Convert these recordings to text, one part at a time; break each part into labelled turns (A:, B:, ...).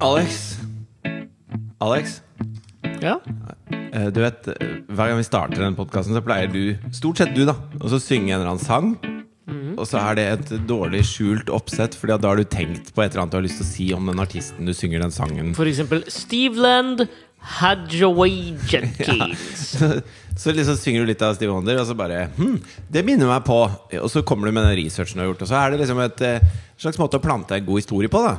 A: Alex. Alex.
B: Ja?
A: eh, Du vet, eh, Hver gang vi starter den podkasten, så pleier du, stort sett du, da, å så synge en eller annen sang. Og så er det et dårlig skjult oppsett, Fordi at da har du tenkt på et eller annet du har lyst til å si om den artisten du synger den sangen.
B: For eksempel Steveland Hadjaway Jenkins.
A: Så liksom synger du litt av Steve Wonder, og så bare hm, Det minner meg på. Og så kommer du med den researchen du har gjort, og så er det liksom et eh, slags måte å plante en god historie på, da.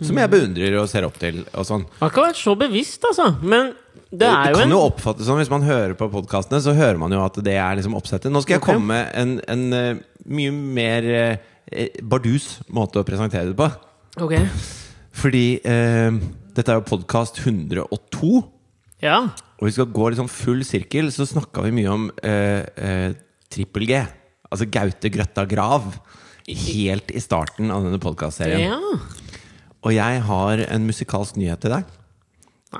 A: Som jeg beundrer og ser opp til. Og sånn
B: Man kan være så bevisst, altså. Men det
A: Det,
B: er jo
A: kan
B: en
A: jo oppfattes som, Hvis man hører på podkastene, så hører man jo at det er liksom oppsettet. Nå skal jeg
B: Ok.
A: komme med en, en eh, mye mer eh, bardus måte å presentere det på.
B: Ok.
A: Fordi eh, dette er jo podkast 102,
B: Ja.
A: og vi skal gå liksom full sirkel. Så snakka vi mye om eh, eh, trippel G. Altså Gaute Grøtta Grav. Helt i starten av denne podkastserien.
B: ja.
A: Og jeg har en musikalsk nyhet til deg.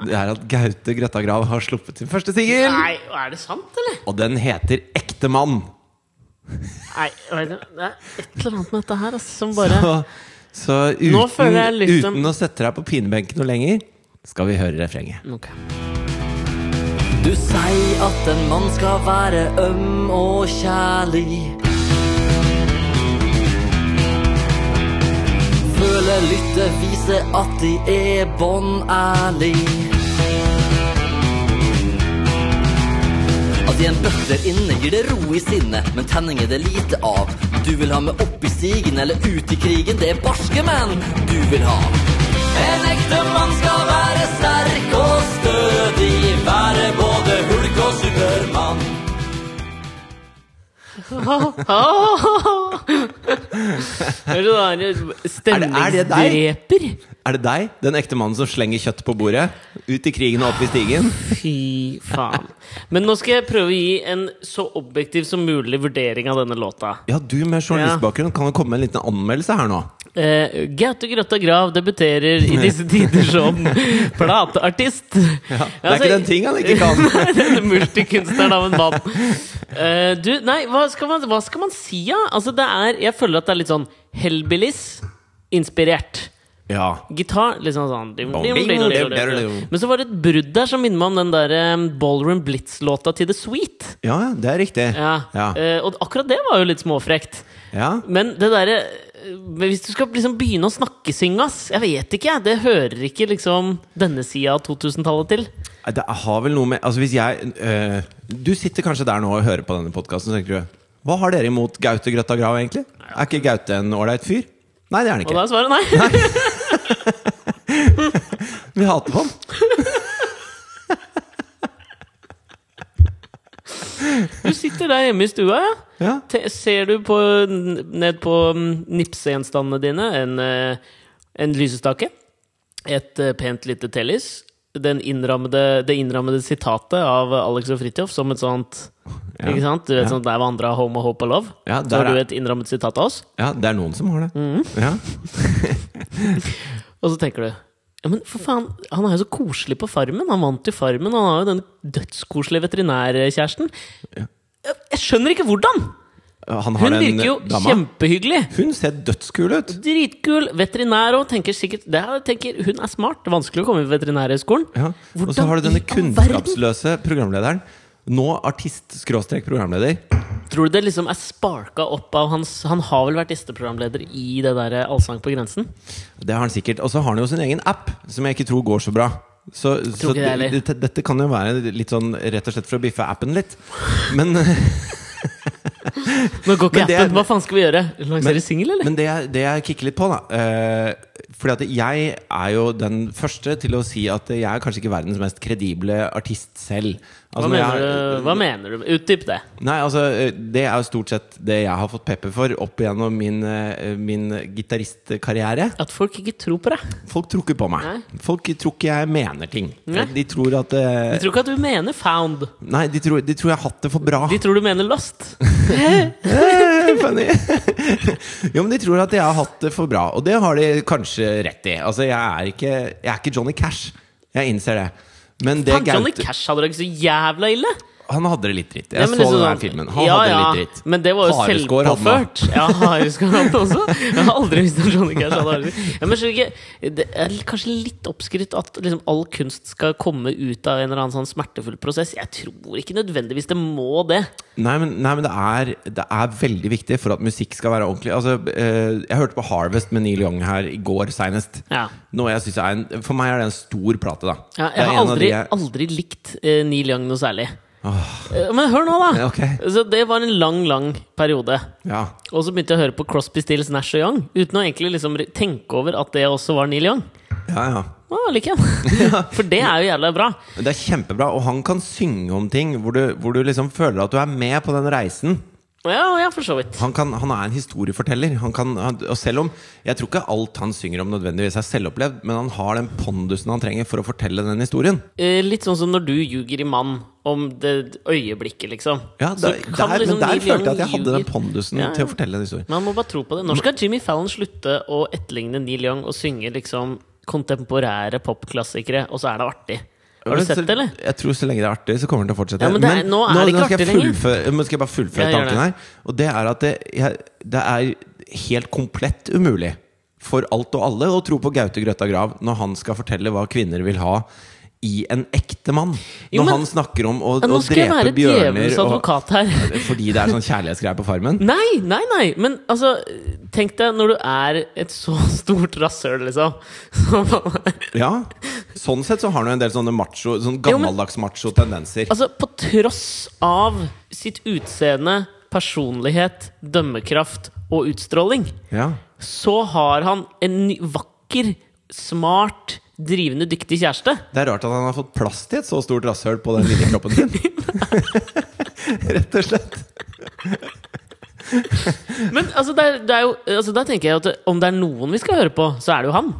A: Det er at Gaute Grøtta Grav har sluppet sin første singel.
B: Nei, er det sant, eller?
A: Og den heter Ekte mann.
B: Nei, vet du, det er et eller annet med dette her altså, som bare
A: Så, så
B: Nå
A: uten,
B: føler jeg liksom-
A: uten å sette deg på pinebenken noe lenger, skal vi høre refrenget.
B: Ok.
C: Du sier at en mann skal være øm og kjærlig. Føler lytter viser at de er bånn ærlig. At i en bøtter inne gir det ro i sinnet, men tenning er det lite av. Du vil ha med opp i stigen eller ut i krigen, det er barske menn du vil ha. En ekte mann skal være sterk og stødig, være både hulk og supermann.
B: Hører du da, det
A: Er
B: er
A: det- er det
B: Stemningsdreper.
A: Er det deg, den ekte mannen som slenger kjøtt på bordet? Ut i krigen og opp i stigen?
B: Fy faen. Men nå skal jeg prøve å gi en så objektiv som mulig vurdering av denne låta.
A: Ja, du med journalistbakgrunn kan jo komme med en liten anmeldelse her nå.
B: Eh, Gaute Grøtta Grav debuterer i disse tider som plateartist.
A: Ja, det er
B: altså-
A: ikke den ting han ikke kan.
B: Nei, Denne multikunstneren av en mann. Eh, du, nei, hva skal man, hva skal man si, da? Altså, det er Jeg føler at det er litt sånn Hellbillies-inspirert.
A: Ja.
B: Gitar litt sånn sånn dim, dim, dim, dim, dim, dim. Men så var det et brudd der som minner meg om den der eh, Ballroom Blitz-låta til The Sweet.
A: ja, det er riktig.
B: Ja.
A: Ja.
B: Eh, og akkurat det var jo litt småfrekt.
A: ja.
B: Men det derre eh, men Hvis du skal liksom begynne å snakkesynge, ass Jeg vet ikke, jeg. Det hører ikke liksom denne sida av 2000-tallet til.
A: Nei, Det har vel noe med Altså hvis jeg øh, Du sitter kanskje der nå og hører på denne podkasten og tenker du, Hva har dere imot Gaute Grøtta Grav, egentlig? Er ikke Gaute en ålreit fyr? Nei, det er han
B: Og
A: ikke.
B: da er svaret nei.
A: Vi hater han.
B: Du sitter der hjemme i stua, ja.
A: Ja.
B: Te ser du på, n- ned på mm, nipsegjenstandene dine en, eh, en lysestake, et eh, pent lite tellis, den innrammede, det innrammede sitatet av Alex og Fridtjof som et sånt
A: Ja.
B: Ikke sant? Du vet
A: Ja.
B: sånn der var andre av Home og Hope og Love.
A: Ja,
B: så
A: der
B: har du
A: er-
B: et innrammet sitat av oss,
A: Ja, det er noen som har det.
B: Mm.
A: Ja.
B: og så tenker du ja, men for faen, Han er jo så koselig på Farmen. Han vant jo Farmen. Han har jo den dødskoselige veterinærkjæresten. Jeg jeg skjønner ikke hvordan!
A: Han har
B: Hun
A: den
B: virker jo
A: dama.
B: kjempehyggelig.
A: Hun ser dødskul ut.
B: Dritkul veterinær og tenker sikkert det her, tenker, Hun er smart. det er Vanskelig å komme i veterinærhøgskolen.
A: Ja. Og så
B: Hvordan
A: har du denne
B: i all verden?
A: kunnskapsløse programlederen. Nå artist-programleder.
B: Tror du det liksom er sparka opp av hans Han har vel vært gjesteprogramleder i det der Allsang på grensen?
A: Det har han sikkert. Og så har han jo sin egen app, som jeg ikke tror går så bra. Så, så
B: ikke det heller.
A: dette, dette kan jo være litt sånn rett og slett for å biffe appen litt. Men,
B: Nå går ikke
A: Men det er-
B: appen. Hva faen skal vi gjøre? Lansere
A: Men-
B: singel, eller?
A: men det, jeg- det jeg kikker litt på, da eh, Fordi at jeg er jo den første til å si at jeg er kanskje ikke verdens mest kredible artist selv. Altså,
B: Hva
A: når
B: mener,
A: jeg-
B: du, hva mener du? Utdyp det.
A: Nei, altså, eh, det er jo stort sett det jeg har fått pepper for opp igjennom min, eh, min gitaristkarriere.
B: At folk ikke tror på deg.
A: Folk tror ikke på meg.
B: Nei.
A: Folk tror ikke jeg mener ting.
B: Nei.
A: De tror at eh,
B: De tror ikke at du mener found.
A: Nei, de tror, de tror jeg har hatt det for bra.
B: De tror du mener lost.
A: Eh, Funny! jo, men de tror at jeg har hatt det for bra, og det har de kanskje rett i. Altså, jeg er ikke, jeg er ikke Johnny Cash. Jeg innser det. Men det
B: Faen, Johnny
A: Gaute-
B: Cash hadde det ikke så jævla ille!
A: han hadde det litt dritt. Jeg
B: Ja,
A: så
B: men liksom
A: den her
B: sånn-
A: filmen. Han
B: ja,
A: hadde det
B: ja,
A: litt dritt.
B: Men det var jo
A: Hareskår hadde han.
B: selvpåført. Ja, hareskår hadde han også. Jeg har aldri visst at Johnny Cash hadde hareskår. Ja, men skjønner ikke, det er kanskje litt oppskrytt at liksom all kunst skal komme ut av en eller annen sånn smertefull prosess. Jeg tror ikke nødvendigvis det må det.
A: Nei, men, nei, men det, er, det er veldig viktig for at musikk skal være ordentlig. Altså, eh, jeg hørte på Harvest med Neil Young her i går seinest.
B: Ja.
A: Noe jeg synes er en, for meg er det en stor plate, da. Det
B: Ja,
A: er
B: jeg har
A: en av de
B: aldri,
A: jeg-
B: aldri likt eh, Neil Young noe særlig. Eh, Men hør nå, da!
A: Ok.
B: Så det var en lang, lang periode.
A: ja.
B: Og så begynte jeg å høre på Crosby, Stills, Nash og Young uten å egentlig liksom tenke over at det også var Neil Young.
A: ja, ja.
B: Å, liker jeg For det er jo jævla bra.
A: Men Det er kjempebra, og han kan synge om ting hvor du, hvor du liksom føler at du er med på den reisen.
B: Ja, ja, for så vidt.
A: Han, kan, han er en historieforteller. Han kan, han, og selv om Jeg tror ikke alt han synger om, nødvendigvis er selvopplevd, men han har den pondusen han trenger for å fortelle den historien.
B: Eh, litt sånn som når du ljuger i mann om det øyeblikket, liksom.
A: Ja,
B: Så
A: der,
B: kan
A: der,
B: liksom
A: men der
B: Neil Young
A: følte jeg at jeg hadde den
B: ljuger.
A: pondusen
B: Ja, ja.
A: til å fortelle den historien.
B: Man må bare tro på det. Når skal Jimmy Fallon slutte å etterligne Neil Young og synge liksom kontemporære popklassikere, og så er det artig? Har du
A: Men
B: sett
A: så-
B: det, eller?
A: Jeg tror så lenge det er artig, så kommer den til å fortsette.
B: Ja, men det er- nå er det ikke
A: skal jeg
B: artig lenger.
A: fullføre- nå skal jeg bare fullføre
B: Ja, gjør
A: tanken her. Og det er at det, jeg, det er helt komplett umulig for alt og alle å tro på Gaute Grøtta Grav når han skal fortelle hva kvinner vil ha i en ekte mann. Når
B: Jo, men-
A: han snakker om å,
B: Ja,
A: å
B: nå skal jeg
A: drepe
B: være
A: bjørner
B: djevelens advokat her.
A: Fordi det er sånn kjærlighetsgreie på Farmen.
B: Nei, nei, nei! Men altså, tenk deg når du er et så stort rasshøl, liksom. Som han er.
A: Ja. Sånn sett så har han jo en del sånne macho, sånn
B: Jo, men-
A: gammeldags macho-tendenser.
B: Altså, på tross av sitt utseende, personlighet, dømmekraft og utstråling,
A: Ja.
B: så har han en ny- vakker, smart, drivende, dyktig kjæreste.
A: Det er rart at han har fått plass til et så stort rasshøl på den lille kroppen sin. Rett og slett.
B: Men altså, det er, det er jo, altså, da tenker jeg at om det er noen vi skal høre på, så er det jo han.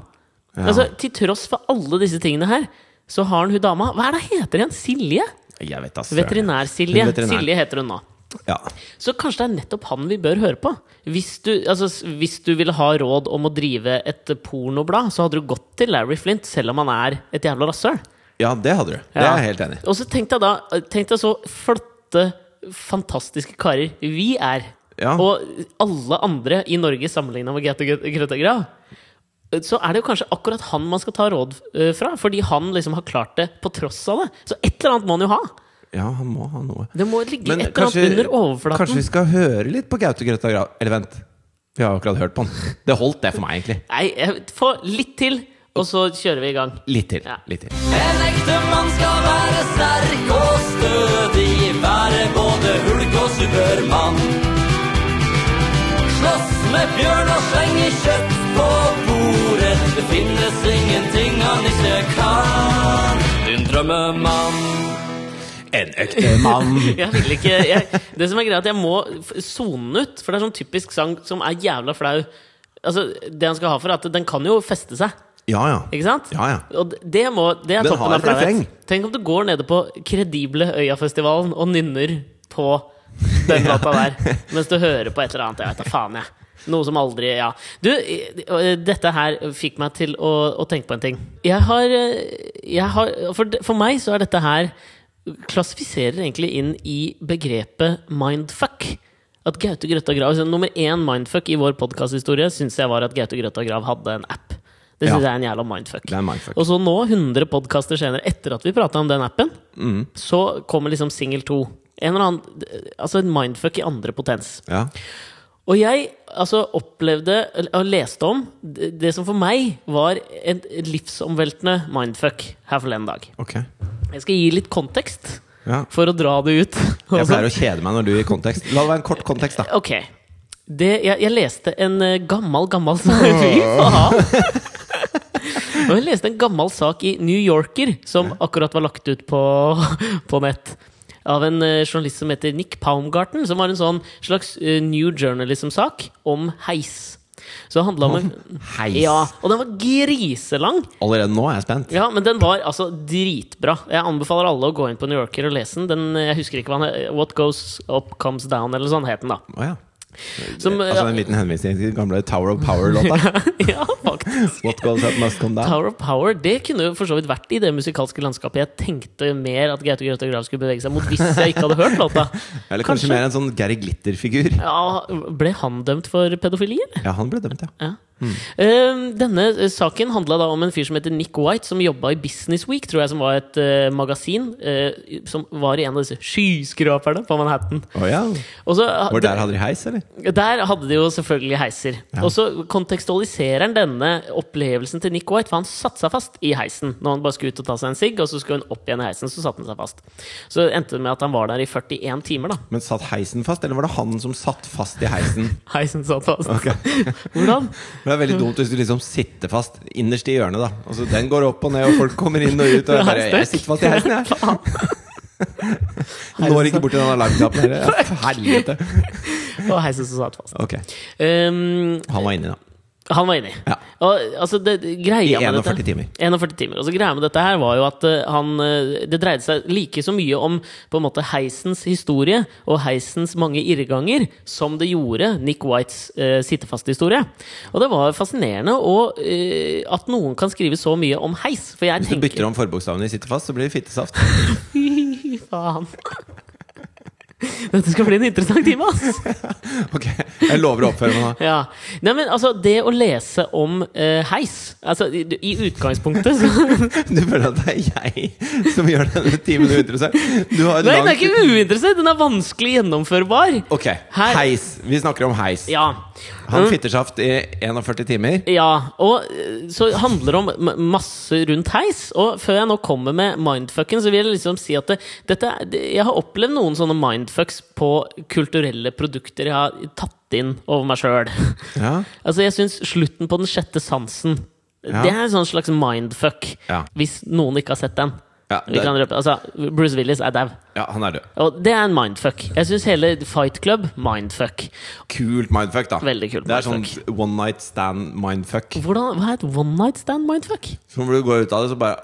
B: Altså, til tross for alle disse tingene her, så har han hun dama Hva er det hun heter igjen? Silje?
A: Jeg vet da søren.
B: Veterinær-Silje.
A: Hun veterinær.
B: Silje heter hun nå.
A: Ja.
B: Så kanskje det er nettopp han vi bør høre på. Hvis du, altså, s- hvis du ville ha råd om å drive et pornoblad, så hadde du gått til Larry Flint, selv om han er et jævla rasshøl.
A: ja, det hadde du. Det
B: Ja.
A: er jeg helt enig i.
B: Og så tenk deg da Tenk deg så flotte, fantastiske karer vi er.
A: Ja.
B: Og alle andre i Norge sammenligna med Gaute Grø- Grøtta Grav. Så er det jo kanskje akkurat han man skal ta råd eh, fra. Fordi han liksom har klart det på tross av det. Så et eller annet må han jo ha!
A: Ja, han må ha noe.
B: Det må ligge et eller annet under overflaten.
A: kanskje vi skal høre litt på Gaute Grøtta Grav? Eller vent, vi har jo akkurat hørt på han. Det holdt, det for meg, egentlig.
B: Nei, jeg- få litt til, og så kjører vi i gang.
A: Litt til.
B: Ja.
A: Litt til.
C: En ekte mann skal være sterk og stødig, være både hulk og supermann. Slåss med bjørn og slenge kjøtt på bordet. Det finnes ingenting han ikke kan. Din drømmemann.
A: En ekte mann.
B: Jeg vil ikke jeg, Det som er greia, er at jeg må f- sone den ut. For det er sånn typisk sang som er jævla flau. Altså, Det han skal ha for, er at den kan jo feste seg.
A: Ja, ja.
B: Ikke sant?
A: Ja, ja.
B: Og d- det, må, det er
A: Den
B: toppen
A: har
B: av
A: et refreng.
B: flauhet. Tenk om du går nede på kredible Øyafestivalen og nynner på den låta der, mens du hører på et eller annet. Jeg vet da faen, jeg. Noe som aldri Ja. Du, eh, eh, dette her fikk meg til å, å tenke på en ting. Jeg har, eh, jeg har for, d- for meg så er dette her Klassifiserer egentlig inn i begrepet mindfuck. At Gaute Grøtta Grav så Nummer én mindfuck i vår podkasthistorie syns jeg var at Gaute Grøtta Grav hadde en app. Det
A: Ja.
B: syns jeg er en jævla mindfuck.
A: Det er mindfuck.
B: Og så nå, 100 podkaster senere, etter at vi prata om den appen,
A: Mm.
B: så kommer liksom singel to. En eller annen, altså en mindfuck i andre potens.
A: Ja.
B: Og jeg altså, opplevde, eller- og leste om, det det som for meg var en livsomveltende mindfuck her forleden dag.
A: Ok.
B: Jeg skal gi litt kontekst,
A: Ja.
B: for å dra det ut.
A: Jeg pleier å kjede meg når du gir kontekst. La det være en kort kontekst, da.
B: Ok. Det, jeg, jeg leste en eh, gammel, gammel sak Fy faen! Og jeg leste en gammel sak i New Yorker som akkurat var lagt ut på, på nett. Av en eh, journalist som heter Nick Paumgarten, som var en sånn slags eh, New Journalism-sak om heis. Så det handla om en
A: Heis.
B: Ja, og den var griselang!
A: Allerede nå er jeg spent.
B: Ja, men den var altså dritbra. Jeg anbefaler alle å gå inn på New Yorker og lese den. den eh, jeg husker ikke hva den het. What Goes Up Comes Down, eller sånn het den, da.
A: Å ja.
B: Som, eh,
A: Altså En liten henvisning til den gamle Tower of Power-låta.
B: ja, faktisk.
A: What goes up must come down.
B: Tower of Power det kunne jo for så vidt vært i det musikalske landskapet jeg tenkte mer at Gaute Grøtta Grav skulle bevege seg mot hvis jeg ikke hadde hørt låta.
A: Eller kanskje,
B: Kanskje.
A: mer en sånn Gary Glitter-figur.
B: Ja, ble han dømt for pedofili, eller?
A: Ja, han ble dømt, ja.
B: Ja. Eh, denne eh, saken handla da om en fyr som heter Nick White, som jobba i Business Week, tror jeg, som var et eh, magasin, eh, som var i en av disse skyskraperne på Manhattan.
A: Å ja.
B: Og så,
A: Var der hadde de heis, eller?
B: Der hadde de jo selvfølgelig heiser. Og så kontekstualiserer han denne opplevelsen til Nick White, for han satte seg fast i heisen. Når han bare skulle ut og ta seg en sigg, og så skulle han opp igjen i heisen, så satte han seg fast. Så det endte det med at han var der i 41 timer, da.
A: Men satt heisen fast, eller var det han som satt fast i heisen?
B: Heisen satt fast. Hvordan?
A: For Det er veldig dumt hvis du liksom sitter fast innerst i hjørnet, da. Altså, den går opp og ned, og folk kommer inn og ut, og jeg bare Jeg sitter fast i heisen, jeg. Når ikke borti den alarmknappen heller. Ja, for Helvete.
B: Og heisen som satt fast.
A: Ok,
B: Um,
A: han var inni, da.
B: han var inni.
A: Ja.
B: Og, altså, det, det- greia
A: I
B: med
A: 41
B: dette-
A: timer.
B: 41 timer. Og så greia med dette her var jo at eh, han, eh, det dreide seg like så mye om på en måte heisens historie og heisens mange irrganger som det gjorde Nick Whites eh, sittefasthistorie. Og det var fascinerende og, eh, at noen kan skrive så mye om heis. For jeg
A: Hvis du bytter
B: tenker
A: om forbokstavene i 'sitter fast', så blir det fittesaft.
B: Fy faen. Dette skal bli en interessant time, ass!
A: Ok, Jeg lover å oppføre meg nå.
B: Ja. Nei, men altså, det å lese om eh, heis Altså, i, i utgangspunktet så
A: Du føler at det er jeg som gjør denne timen uinteressant? Du har
B: Nei, den er
A: langt
B: ikke uinteressant! Den er vanskelig gjennomførbar.
A: Ok,
B: Her-
A: heis. Vi snakker om heis.
B: Ja.
A: Han
B: Mm,
A: fittersaft i 41 timer.
B: ja, og eh, så handler det om m- masse rundt heis. Og før jeg nå kommer med mindfucken, så vil jeg liksom si at det, dette er- det, Jeg har opplevd noen sånne mindfucks på kulturelle produkter jeg har tatt inn over meg sjøl.
A: Ja.
B: Altså, jeg syns slutten på Den sjette sansen
A: Ja.
B: Det er en sånn slags mindfuck.
A: Ja.
B: Hvis noen ikke har sett den.
A: Ja,
B: Vi
A: det-
B: kan røpe, altså, Bruce Willis er dau.
A: ja, han er død.
B: Og det er en mindfuck. Jeg syns hele Fight Club mindfuck.
A: Kult mindfuck, da.
B: Veldig kult
A: det er sånn
B: mindfuck.
A: one night stand mindfuck.
B: Hvordan, hva er et one night stand mindfuck?
A: Så når du går ut av det, så bare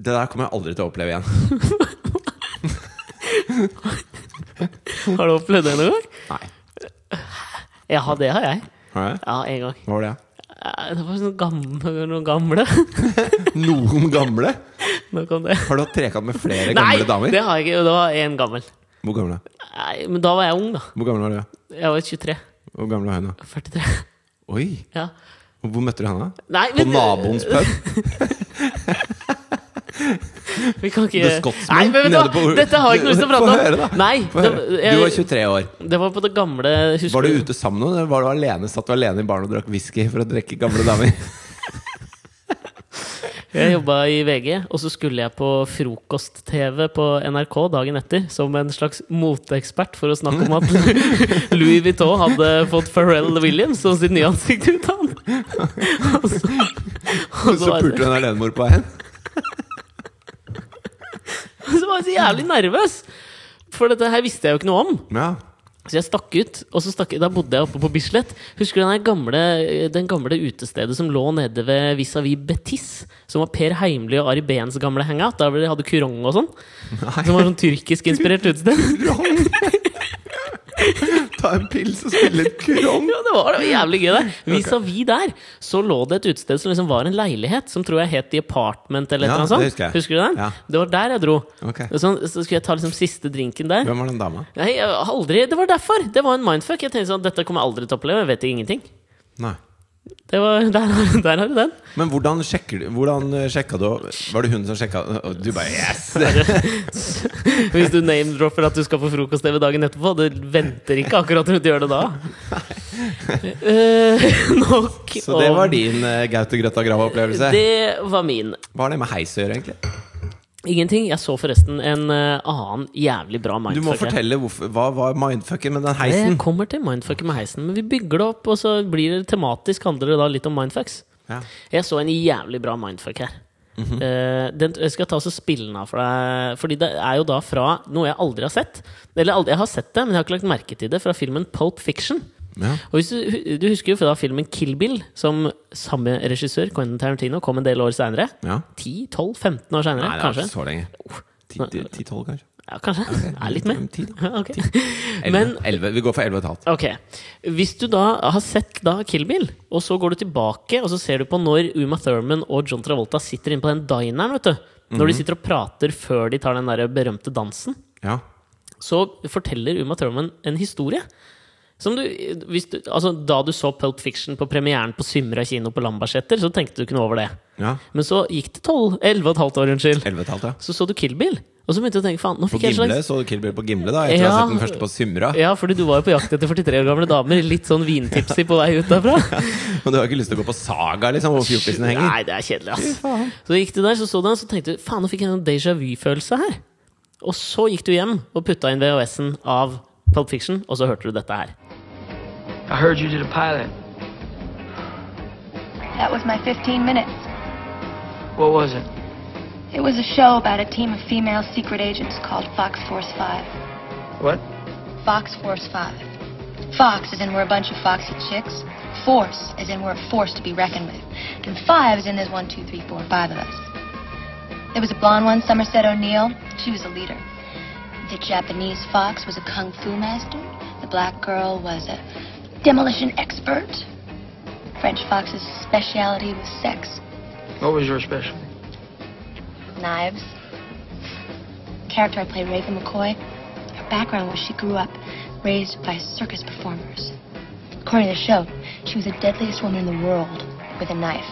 A: Det der kommer jeg aldri til å oppleve igjen.
B: Har du opplevd det noen gang?
A: Nei.
B: Ja, det har jeg.
A: Har du det?
B: Ja, en gang.
A: Hva var det?
B: Eh, Det var sånn gamle, noen gamle.
A: Noen gamle?
B: Nå kom det.
A: Har du hatt trekant med flere
B: Nei,
A: gamle damer?
B: det har jeg ikke. Det var én gammel.
A: Hvor gamle?
B: Nei, men da var jeg ung, da.
A: Hvor gamle var du?
B: Jeg var 23.
A: Hvor gamle var hun, da?
B: 43.
A: Oi!
B: Ja.
A: Hvor møtte du henne? da?
B: Nei,
A: På naboens pub?
B: Vi kan ikke
A: The Scotsman?
B: Nei, men vet du
A: Nede
B: hva?
A: på-
B: Dette har jeg ikke noe lyst til å prate om.
A: Få høre, da.
B: Nei,
A: Få høre.
B: det- jeg-
A: Du var 23 år.
B: Det var på det gamle husker
A: Var du ute sammen med noen, eller var du alene? Satt du alene i baren og drakk whisky for å drikke gamle damer?
B: Jeg jobba i VG, og så skulle jeg på frokost-TV på NRK dagen etter som en slags moteekspert for å snakke om at Louis Vuitton hadde fått Pharrell Williams som sitt nye ansikt ut av han. Og så, og så,
A: Så
B: var,
A: pulte du en alenemor på veien?
B: så var jeg så jævlig nervøs! For dette her visste jeg jo ikke noe om.
A: Ja.
B: Så jeg stakk ut, og så stakk, da bodde jeg oppe på Bislett. Husker du den, her gamle, den gamle utestedet som lå nede ved vis-à-vis Betis? Som var Per Heimly og Ari Behns gamle hangout, der hvor de hadde kurong og sånn. Som var sånn tyrkisk-inspirert utested.
A: Kurong! Ta en pils og spille litt kurong.
B: Ja, det var, det var jævlig gøy der. Vis-à-vis der så lå det et utested som liksom var en leilighet, som tror jeg het The Apartment eller
A: Ja,
B: noe sånt.
A: det husker jeg.
B: Husker du den?
A: Ja.
B: Det var der jeg dro.
A: Ok.
B: Og sånn- så skulle jeg ta liksom siste drinken der.
A: Hvem var den dama?
B: Nei, jeg, har aldri, det var derfor! Det var en mindfuck. Jeg tenkte sånn, dette kommer jeg aldri til å oppleve, jeg vet ingenting.
A: Nei.
B: Det var, der, har- der har du den.
A: Men hvordan, sjekker, du- hvordan eh, sjekka du Var det hun som sjekka og Du bare yes!
B: Hvis du name-dropper at du skal på frokost-TV dagen etterpå, det venter ikke akkurat rundt hjørnet da. Eh, nok
A: Så det
B: om-
A: var din eh, Gaute Grøtta Grav-opplevelse.
B: Det var min.
A: Hva har det med heis å gjøre, egentlig?
B: Ingenting. Jeg så forresten en eh, annen jævlig bra
A: Du må
B: mindfuck. her.
A: fortelle hvorfor, hva var mindfucken med den
B: Jeg
A: heisen.
B: kommer til mindfucket med heisen, men vi bygger det opp, og så blir det tematisk handler det da litt om mindfucks.
A: Ja.
B: Jeg så en jævlig bra mindfuck her.
A: Mhm.
B: Eh, den, jeg skal ta og så spille den av for deg. Fordi det er jo da fra noe jeg aldri har sett. Eller aldri, jeg har sett det, men jeg har ikke lagt merke til det. Fra filmen Pulp Fiction.
A: Ja.
B: Og hvis du, du husker jo fra filmen Kill Bill, som samme regissør, Quentin Tarantino, kom en del år seinere.
A: Ja.
B: 10-12-15 år
A: Nei,
B: seinere,
A: det var
B: kanskje.
A: ikke
B: Oh.
A: så lenge. Ti- ti- Ti-tolv, kanskje.
B: Ja, kanskje. Jeg er litt med.
A: Ti, da.
B: Ja, ok.
A: Elleve.
B: Men
A: Elleve. Vi går for elleve og et halvt.
B: Ok, Hvis du da har sett da Kill Bill, og så går du tilbake og så ser du på når Uma Thurman og John Travolta sitter inne på den dineren, vet du. Når de sitter og prater før de tar den der berømte dansen,
A: Ja.
B: så forteller Uma Thurman en historie. Som du, hvis du, altså, da du så Pulp Fiction på premieren på Symra kino på Lambertseter, så tenkte du ikke noe over det.
A: ja.
B: Men så gikk det 12, 11 og et halvt år, unnskyld.
A: Elleve og et halvt, ja.
B: Så så du Kill Bill, og så begynte du å tenke faen, nå
A: På
B: fikk jeg en slags
A: Gimle så du Kill Bill på Gimle, da, etter å ha
B: Ja.
A: sett den første på Symra.
B: Ja, fordi du var jo på jakt etter 43 år gamle damer. Litt sånn vintipsy på vei ut derfra.
A: Men du har ikke lyst til å gå på Saga, liksom, hvor fjortisene henger?
B: Nei, det er kjedelig, ass. Så gikk du der, så så du den, så tenkte du faen, nå fikk jeg en sånn déjà vu-følelse her. Og så gikk du hjem og putta inn VHS-en av Pulp Fiction, og så hørte du dette her.
D: I heard you did a pilot.
E: That was my 15 minutes.
D: What was it?
E: It was a show about a team of female secret agents called Fox Force 5.
D: What?
E: Fox Force 5. Fox is in we're a bunch of foxy chicks. Force is in we're a force to be reckoned with. And 5 is in there's one, two, three, four, five of us. There was a blonde one, Somerset O'Neill. She was a leader. The Japanese fox was a kung fu master. The black girl was a demolition expert. French fox's specialty was sex.
D: What was your specialty?
E: knives. Character I played, Raven McCoy. Her background was she grew up raised by circus performers. According to the show, she was the deadliest woman in the world with a knife.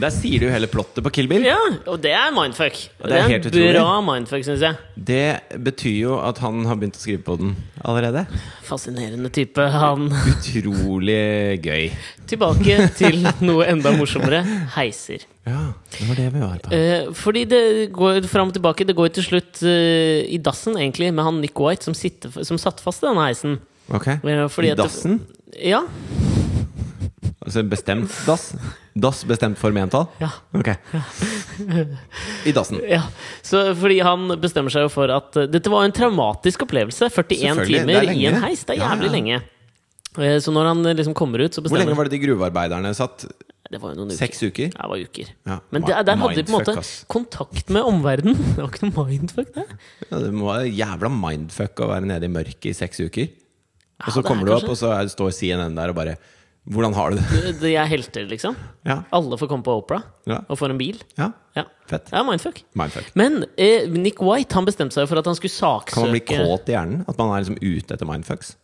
A: Der sier du jo hele plottet på Kill Bill.
B: Ja, og det er mindfuck. Og
A: Det er helt
B: en
A: utrolig.
B: bra mindfuck, syns jeg.
A: Det betyr jo at han har begynt å skrive på den allerede.
B: Fascinerende type, han.
A: Utrolig gøy.
B: Tilbake til noe enda morsommere. Heiser.
A: Ja, det var det vi var på.
B: Eh, fordi det går fram og tilbake. Det går jo til slutt eh, i dassen, egentlig, med han Nick White som, sitter, som satt fast i denne heisen.
A: Ok,
B: Ja,
A: I
B: fordi at det-
A: dassen?
B: Ja,
A: Altså bestemt dass? Dass bestemt for mentall?
B: Ja.
A: Ok. I dassen.
B: Ja, så fordi han bestemmer seg jo for at eh, Dette var en traumatisk opplevelse. 41
A: Selvfølgelig, det er
B: timer i en
A: lenge.
B: heis. Det er
A: Ja,
B: jævlig
A: ja.
B: lenge. Eh, Så når han eh, liksom kommer ut, så
A: Hvor lenge
B: bestemmer
A: var det de gruvearbeiderne satt?
B: Det var jo noen uker.
A: Seks uker?
B: Ja, det var uker.
A: Ja,
B: Men
A: ma-
B: der, der hadde de på en måte
A: mindfuck, ass.
B: kontakt med omverdenen. Det var ikke noe mindfuck, det.
A: Ja, det må være jævla mindfuck å være nede i mørket i seks uker. Og så
B: det er
A: kommer du opp,
B: kanskje.
A: og så er, står CNN der og bare Hvordan har du det?
B: De er helter, liksom.
A: Ja.
B: Alle får komme på Opera
A: Ja.
B: og får en bil.
A: ja.
B: Ja,
A: Fett.
B: ja mindfuck.
A: Mindfuck.
B: Men eh, Nick White han bestemte seg for at han skulle saksøke
A: Kan man bli kåt i hjernen? At man er liksom ute etter mindfucks?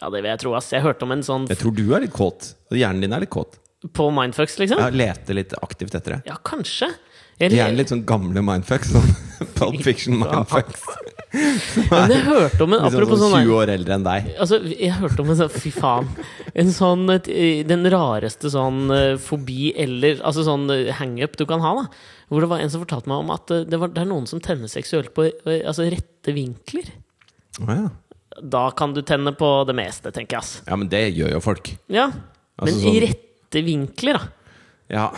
B: Ja, det vil jeg tro, ass. Jeg hørte om en sånn
A: Jeg tror du er litt kåt. og Hjernen din er litt kåt.
B: på mindfucks, liksom.
A: Jeg leter litt aktivt etter det.
B: Ja, kanskje.
A: Gjerne litt sånn gamle mindfucks. Sånn Pulp Fiction-mindfucks.
B: Men jeg hørte om en
A: Liksom
B: Apropos
A: sånn 20
B: sånn der-
A: år eldre enn deg.
B: Altså, jeg hørte om en sånn Fy faen. En sånn et, eh, Den rareste sånn eh, fobi eller Altså sånn eh, hangup du kan ha, da. Hvor det var en som fortalte meg om at eh, det, var, det er noen som tenner seksuelt på eh, altså, rette vinkler.
A: Å ja.
B: Da kan du tenne på det meste, tenker jeg, ass.
A: ja, men det gjør jo folk.
B: Ja. Men
A: Altså
B: i
A: sånn-
B: rette vinkler, da.
A: Ja.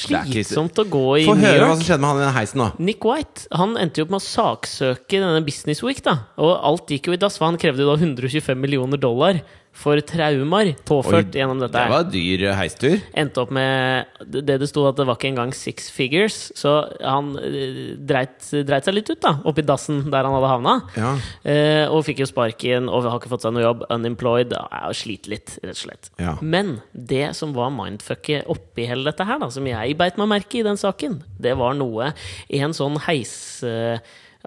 A: Det er ikke-
B: Slitsomt å gå i
A: Få
B: New
A: høre hva som
B: York.
A: skjedde med han i den heisen, da.
B: Nick White han endte jo opp med å saksøke denne Business Week, da. Og alt gikk jo i dass, for han krevde jo da 125 millioner dollar for traumer påført gjennom dette.
A: det
B: her.
A: var dyr heistur.
B: Endte opp med det det sto at det var ikke engang six figures, så han eh, dreit, dreit seg litt ut, da. Oppi dassen der han hadde havna.
A: Ja.
B: Eh, og fikk jo sparken og har ikke fått seg noe jobb. Unemployed. ja, og Sliter litt, rett og slett.
A: Ja.
B: Men det som var mindfucket oppi hele dette her, da, som jeg beit meg merke i den saken, det var noe En sånn heis... eh,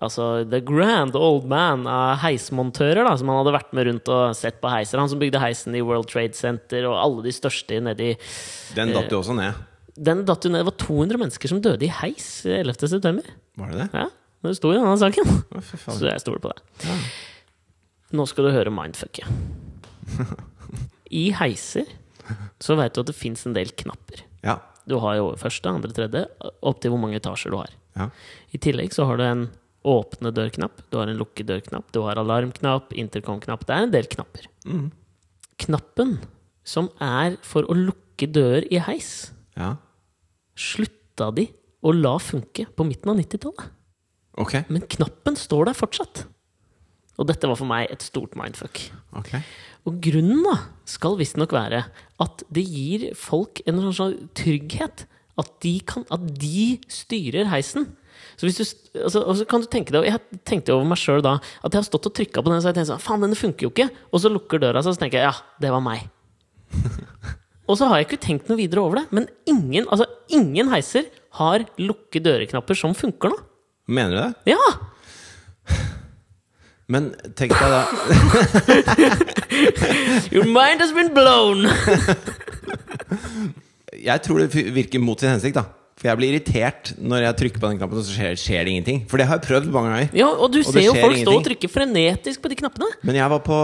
B: Altså The Grand Old Man av heismontører, da, som han hadde vært med rundt og sett på heiser. Han som bygde heisen i World Trade Center og alle de største nedi
A: Den datt
B: Eh.
A: jo også ned.
B: Den datt jo ned. Det var 200 mennesker som døde i heis 11. september.
A: Var det det?
B: Ja, det sto i denne saken.
A: Å, fy faen.
B: Så jeg stoler på deg. Nå skal du høre mindfucket. I heiser så veit du at det fins en del knapper.
A: Ja.
B: Du har jo første, andre, tredje, opp til hvor mange etasjer du har.
A: ja.
B: I tillegg så har du en åpne dørknapp, du har en lukket dørknapp, du har alarmknapp, intercom-knapp. Det er en del knapper.
A: Mm.
B: Knappen som er for å lukke dører i heis,
A: ja.
B: slutta de å la funke på midten av 90-tallet.
A: Ok.
B: Men knappen står der fortsatt. Og dette var for meg et stort mindfuck.
A: ok.
B: Og grunnen da skal visstnok være at det gir folk en sånn slags trygghet. At de, kan, at de styrer heisen. Så hvis du, s- altså, og så kan du tenke deg, og Jeg tenkte over meg sjøl da at jeg har stått og trykka på den, så jeg tenkte sånn Faen, denne funker jo ikke! Og så lukker døra seg, og så tenker jeg ja, det var meg. og så har jeg ikke tenkt noe videre over det. Men ingen, altså, ingen heiser har lukke døreknapper som funker nå.
A: Mener du det?
B: Ja!
A: Men tenk deg da
B: Your mind has been blown!
A: Jeg tror det fi- virker mot sin hensikt, da. For jeg blir irritert når jeg trykker på den knappen, og så skjer, skjer det ingenting. For det har jeg prøvd mange ganger.
B: ja, og du
A: det
B: ser jo
A: skjer
B: folk stå og
A: ingenting.
B: trykke frenetisk på de knappene.
A: Men jeg var på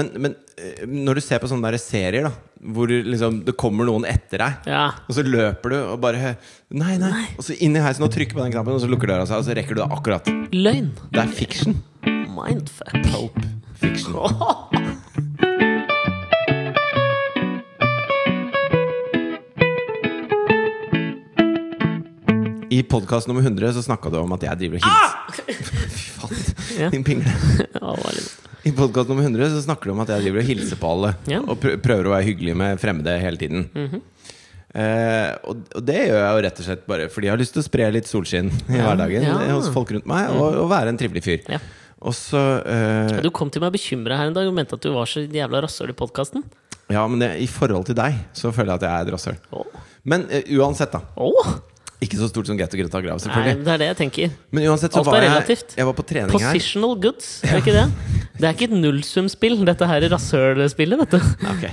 A: Men, men eh, når du ser på sånne der serier, da, hvor liksom, det kommer noen etter deg,
B: Ja.
A: og så løper du og bare Nei, nei. Og så inn i heisen og trykker på den knappen, og så lukker døra seg, og så rekker du det akkurat.
B: Løgn.
A: Det er fiction.
B: Mindfuck.
A: Hope fiction. I podkast nummer 100 så snakka du om at jeg driver og hilser. Fy
B: Ah! Ja.
A: faen. Din pingle.
B: Ja, det var litt-
A: I podkast nummer 100 så snakker du om at jeg driver og hilser på alle.
B: Ja. Mhm.
A: Og prø- prøver å være hyggelig med fremmede hele tiden. eh, og, og det gjør jeg jo rett og slett bare fordi jeg har lyst til å spre litt solskinn i hverdagen
B: ja. Mm.
A: eh, hos folk rundt meg, og, og være en trivelig fyr.
B: Ja.
A: Og så eh,
B: Du kom til meg bekymra her en dag og mente at du var så jævla rasshøl i podkasten.
A: Ja, men det, i forhold til deg så føler jeg at jeg er et rasshøl.
B: Åh.
A: Men eh, uansett, da.
B: Åh.
A: Ikke så stort som Grete og Greta Grav,
B: Nei,
A: selvfølgelig.
B: det er det jeg tenker.
A: Men uansett så
B: Alt er
A: var jeg,
B: relativt.
A: jeg var på trening her.
B: Positional goods, er det ikke det? Det er ikke et nullsumspill, dette her rasshølspillet, vet du.
A: Ok,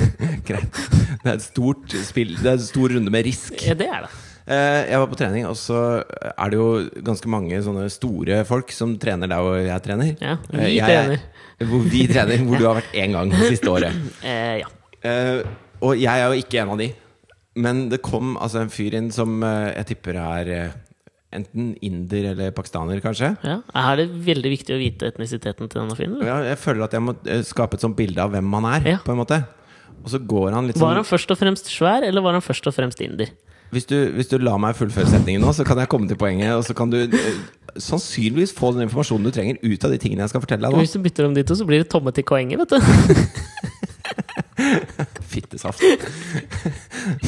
A: greit Det er et stort spill Det er en stor runde med risk
B: Ja, det er det.
A: Eh, Jeg var på trening, og så er det jo ganske mange sånne store folk Som trener der hvor jeg trener
B: Ja, vi
A: Eh, jeg,
B: trener.
A: Hvor vi trener, hvor du har vært en gang det siste året
B: Eh, ja.
A: Eh, Og jeg er jo ikke en av de Men det kom altså en fyr inn som eh, jeg tipper er eh, Enten inder eller pakistaner kanskje
B: ja. Er det veldig viktig å vite etnisiteten til denne fyren? eller?
A: ja, Jeg føler at jeg må eh, skape et sånt bilde av hvem han er
B: Ja.
A: På en måte og så går han litt
B: Var
A: sånn
B: han først og fremst svær, eller var han først og fremst inder?
A: Hvis du, hvis du lar meg fullføre setningen nå, så kan jeg komme til poenget. Og så kan du eh, sannsynligvis få den informasjonen du trenger ut av de tingene jeg skal fortelle deg nå.
B: Hvis du bytter om de to, så blir det tomme til poenget, vet du.
A: Fittesaft. Men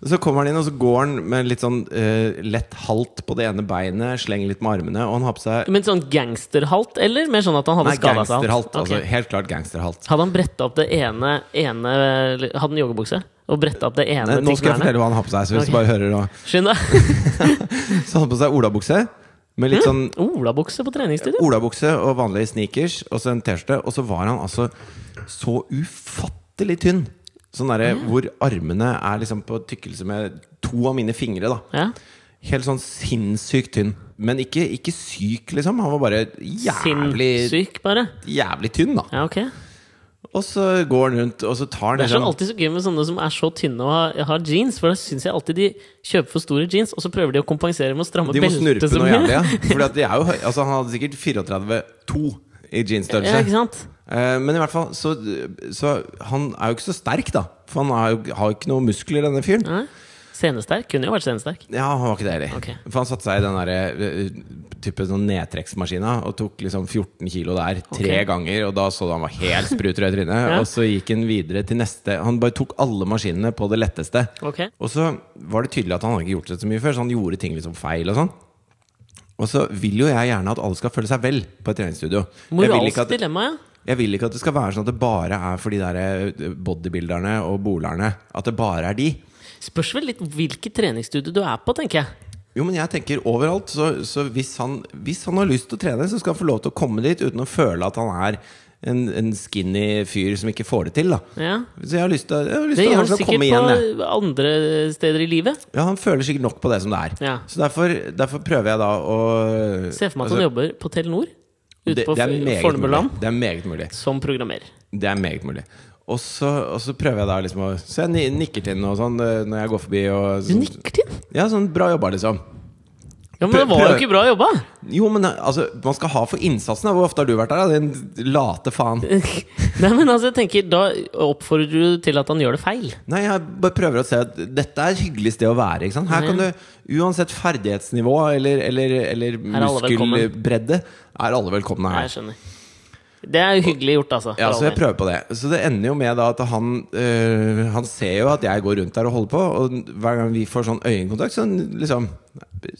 A: så kommer han inn, og så går han med litt sånn eh, lett halt på det ene beinet, slenger litt med armene, og han har på seg
B: Men sånn gangsterhalt, eller? Mer sånn at han hadde
A: Nei,
B: skada seg?
A: gangsterhalt.
B: Ok.
A: Altså, helt klart gangsterhalt.
B: Hadde han bretta opp det ene, ene Hadde han joggebukse? Og bretta opp det ene
A: Nei, Eh, nå skal jeg fortelle hva han har på seg. Så hvis
B: Ok.
A: du bare hører nå
B: Skynd deg.
A: Så han har på seg olabukse med
B: Mm.
A: litt sånn
B: Olabukse på treningsstudio?
A: olabukse og vanlige sneakers og så en T-skjorte. Og så var han altså så ufattelig tynn. Sånn derre hvor armene er liksom på tykkelse med to av mine fingre, da.
B: Ja.
A: Helt sånn sinnssykt tynn. Men ikke, ikke syk, liksom. Han var bare jævlig,
B: Sinnssyk, bare.
A: jævlig tynn, da.
B: Ja, ok.
A: Og så går han rundt, og så tar han
B: Det er sånn
A: liksom-
B: alltid så gøy med sånne som er så tynne og har, har jeans, for da syns jeg alltid de kjøper for store jeans, og så prøver de å kompensere med å stramme
A: De må snurpe
B: beltet så
A: noe
B: mye.
A: jævlig, ja. Fordi at de er jo høy. Altså, han hadde sikkert 34,2 i jeansstørrelse.
B: Ja, ikke sant?
A: Eh, Men i hvert fall, så, så han er jo ikke så sterk, da. For han har jo har jo ikke noe muskler, denne fyren.
B: Nei. Senesterk. Kunne jo vært senesterk.
A: Ja, han var ikke det heller.
B: Ok.
A: For han satte seg i den der, eh, type sånn nedtrekksmaskina og tok liksom 14 kilo der tre
B: Ok.
A: ganger. Og da så du han var helt sprut rød i trynet.
B: Ja.
A: Og så gikk han videre til neste. Han bare tok alle maskinene på det letteste.
B: Ok.
A: Og så var det tydelig at han hadde ikke gjort det så mye før, så han gjorde ting liksom feil og sånn. Og så vil jo jeg gjerne at alle skal føle seg vel på et treningsstudio. Jeg vil ikke
B: Moralsk
A: at-
B: dilemma, ja.
A: jeg vil ikke at det skal være sånn at det bare er for de der eh, bodybuilderne og bolerne. At det bare er de.
B: Spørs vel litt hvilket treningsstudio du er på, tenker jeg.
A: Jo, men jeg tenker overalt. Så, så hvis, han, hvis han har lyst til å trene, så skal han få lov til å komme dit uten å føle at han er en, en skinny fyr som ikke får det til. da
B: Ja.
A: Så jeg har lyst til, jeg har lyst
B: Det
A: til
B: gjør
A: at
B: han
A: han skal
B: sikkert
A: komme
B: på
A: igjen. Jeg.
B: andre steder i livet.
A: Ja, Han føler sikkert nok på det som det er.
B: Ja.
A: Så derfor, derfor prøver jeg da å Altså,
B: Se for meg at han jobber på Telenor, ute
A: det,
B: på
A: det er meget mulig.
B: Fornebuland,
A: Det er meget mulig.
B: som programmerer.
A: Det er meget mulig. Og så, og så prøver jeg da liksom å Så jeg ni- nikker til den og sånn eh, når jeg går forbi. Og,
B: Du
A: sånn-
B: nikker til den!
A: Ja, sånn bra jobba, liksom.
B: Ja, men det
A: Prøv-
B: var jo
A: prøv.
B: ikke bra jobba!
A: Jo, men altså, man skal ha for innsatsen. da. Hvor ofte har du vært der, da? Din late faen.
B: Nei, men altså, jeg tenker, da oppfordrer du til at han gjør det feil.
A: Nei, jeg bare prøver å se at dette er et hyggelig sted å være. Ikke sant? Her kan du, uansett ferdighetsnivå eller, eller, eller
B: alle velkommen.
A: muskelbredde, er alle velkomne
B: Nei,
A: her.
B: jeg skjønner. Det er hyggelig gjort, altså.
A: Ja,
B: for all
A: så jeg
B: del.
A: prøver på det. Så det ender jo med da at han øh, Han ser jo at jeg går rundt der og holder på, og hver gang vi får sånn øyekontakt, så liksom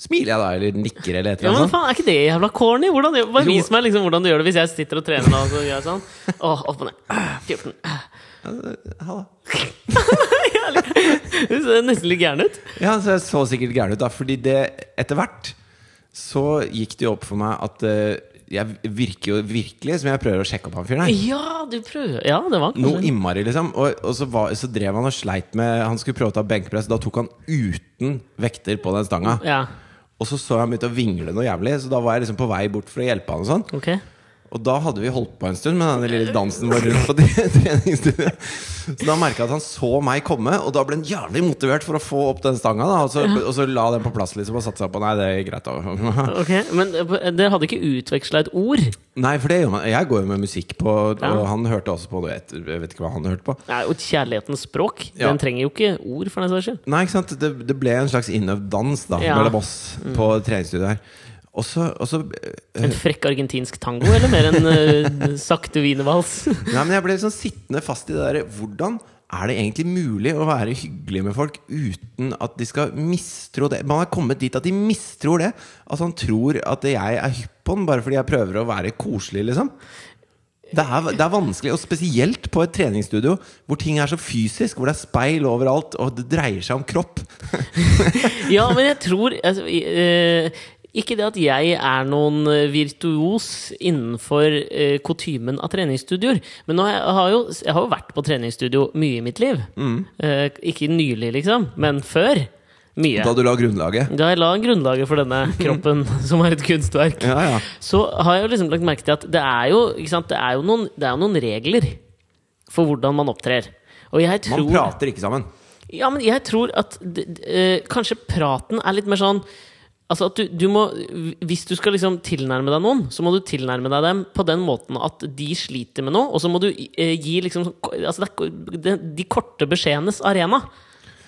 A: Smiler jeg da, eller nikker, eller et
B: Ja,
A: eller
B: men
A: annet sånt.
B: faen, Er ikke det jævla corny? Hvordan, bare
A: altså. Jo.
B: vis meg liksom hvordan du gjør det hvis jeg sitter og trener. nå, Og så gjør jeg sånn Åh, opp og ned. Ah, 14.
A: Ja, da.
B: Du ser nesten litt gæren ut.
A: Ja, så jeg så sikkert gæren ut da Fordi det, etter hvert Så gikk det jo opp for meg at eh, Jeg virker jo virkelig som jeg prøver å sjekke opp han fyren her
B: Ja, du prøver. Ja, det var
A: noe
B: kanskje-
A: immari liksom Og, og så, var, så drev han og sleit med Han skulle prøve å ta benkpress Da tok han uten vekter på den stanga
B: Ja,
A: Og så så jeg han begynte å vingle noe jævlig Så da var jeg liksom på vei bort for å hjelpe han og sånn
B: ok
A: og da hadde vi holdt på en stund med den lille dansen vår rundt på tre- treningsstudioet. Så da merka jeg at han så meg komme, og da ble han jævlig motivert for å få opp den stanga. da, Og så, og så la den på plass liksom og satte seg på. Nei, det er greit. da
B: Ok, Men eh, dere hadde ikke utveksla et ord?
A: Nei, for det gjør man. Jeg går jo med musikk på, og
B: Ja.
A: han hørte også på noe. etter- Jeg vet ikke hva han hørte på.
B: Nei, og Kjærlighetens språk
A: Ja.
B: Den trenger jo ikke ord, for den saks skyld.
A: Nei, ikke sant? Det, det ble en slags innøvd dans da
B: Ja. Mm.
A: mellom oss på treningsstudioet her. Og så, og så eh,
B: En frekk argentinsk tango, eller mer en eh, sakte wienervals?
A: Nei, men jeg ble liksom sittende fast i det der Hvordan er det egentlig mulig å være hyggelig med folk uten at de skal mistro det? Man er kommet dit at de mistror det. At han tror at jeg er hypp på den bare fordi jeg prøver å være koselig, liksom. Det er, det er vanskelig, og spesielt på et treningsstudio hvor ting er så fysisk. Hvor det er speil overalt, og det dreier seg om kropp.
B: Ja, men jeg tror altså, i- eh, Ikke det at jeg er noen eh, virtuos innenfor eh, kutymen av treningsstudioer. Men nå har jeg, har jo, jeg har jo vært på treningsstudio mye i mitt liv.
A: Mm.
B: Eh, ikke nylig, liksom, men før. Mye.
A: Da du la grunnlaget.
B: Da jeg la grunnlaget for denne kroppen, som er et kunstverk,
A: Ja, ja.
B: så har jeg jo liksom lagt merke til at det er jo, ikke sant, det er jo, noen, det er jo noen regler for hvordan man opptrer. Og jeg tror
A: Man prater ikke sammen.
B: ja, men jeg tror at d- d- eh, kanskje praten er litt mer sånn Altså at du, du må Hvis du skal liksom tilnærme deg noen, så må du tilnærme deg dem på den måten at de sliter med noe, og så må du eh, gi liksom altså det er, ko- det, De korte beskjedenes arena.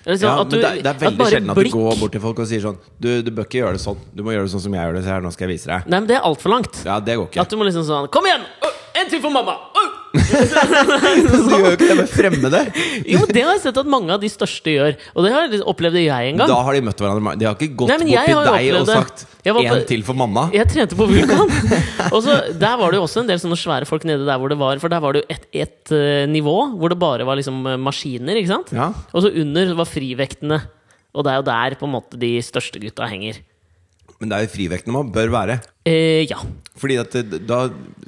B: Liksom
A: Ja, men
B: at du-
A: det, er- det er veldig
B: bare
A: sjelden at du
B: blikk-
A: går bort til folk og sier sånn Du, du bør ikke gjøre det sånn. Du må gjøre det sånn som jeg gjør det. Så her, nå skal jeg vise deg.
B: Nei, men det er altfor langt.
A: Ja, det går ikke.
B: At du må liksom sånn Kom igjen! Ø, en til for mamma! Ø!»
A: Du gjør jo ikke det med fremmede.
B: Jo, det har jeg sett at mange av de største gjør. Og det har jeg- opplevde jeg en gang.
A: Da har de møtt hverandre. ma- De har ikke gått
B: Nei, men
A: bort
B: jeg
A: til
B: har jo
A: deg og
B: opplevd det.
A: sagt
B: Jeg var på-
A: 'én til for mamma'.
B: Jeg trente på Vulkan. Og så Der var det jo også en del sånne svære folk nede der hvor det var For der var det jo ett et, eh, nivå hvor det bare var liksom eh, maskiner, ikke sant?
A: Ja.
B: Og så under var frivektene. Og det er jo der på en måte de største gutta henger.
A: Men det er jo frivekten man bør være.
B: Eh, ja.
A: Fordi at det- da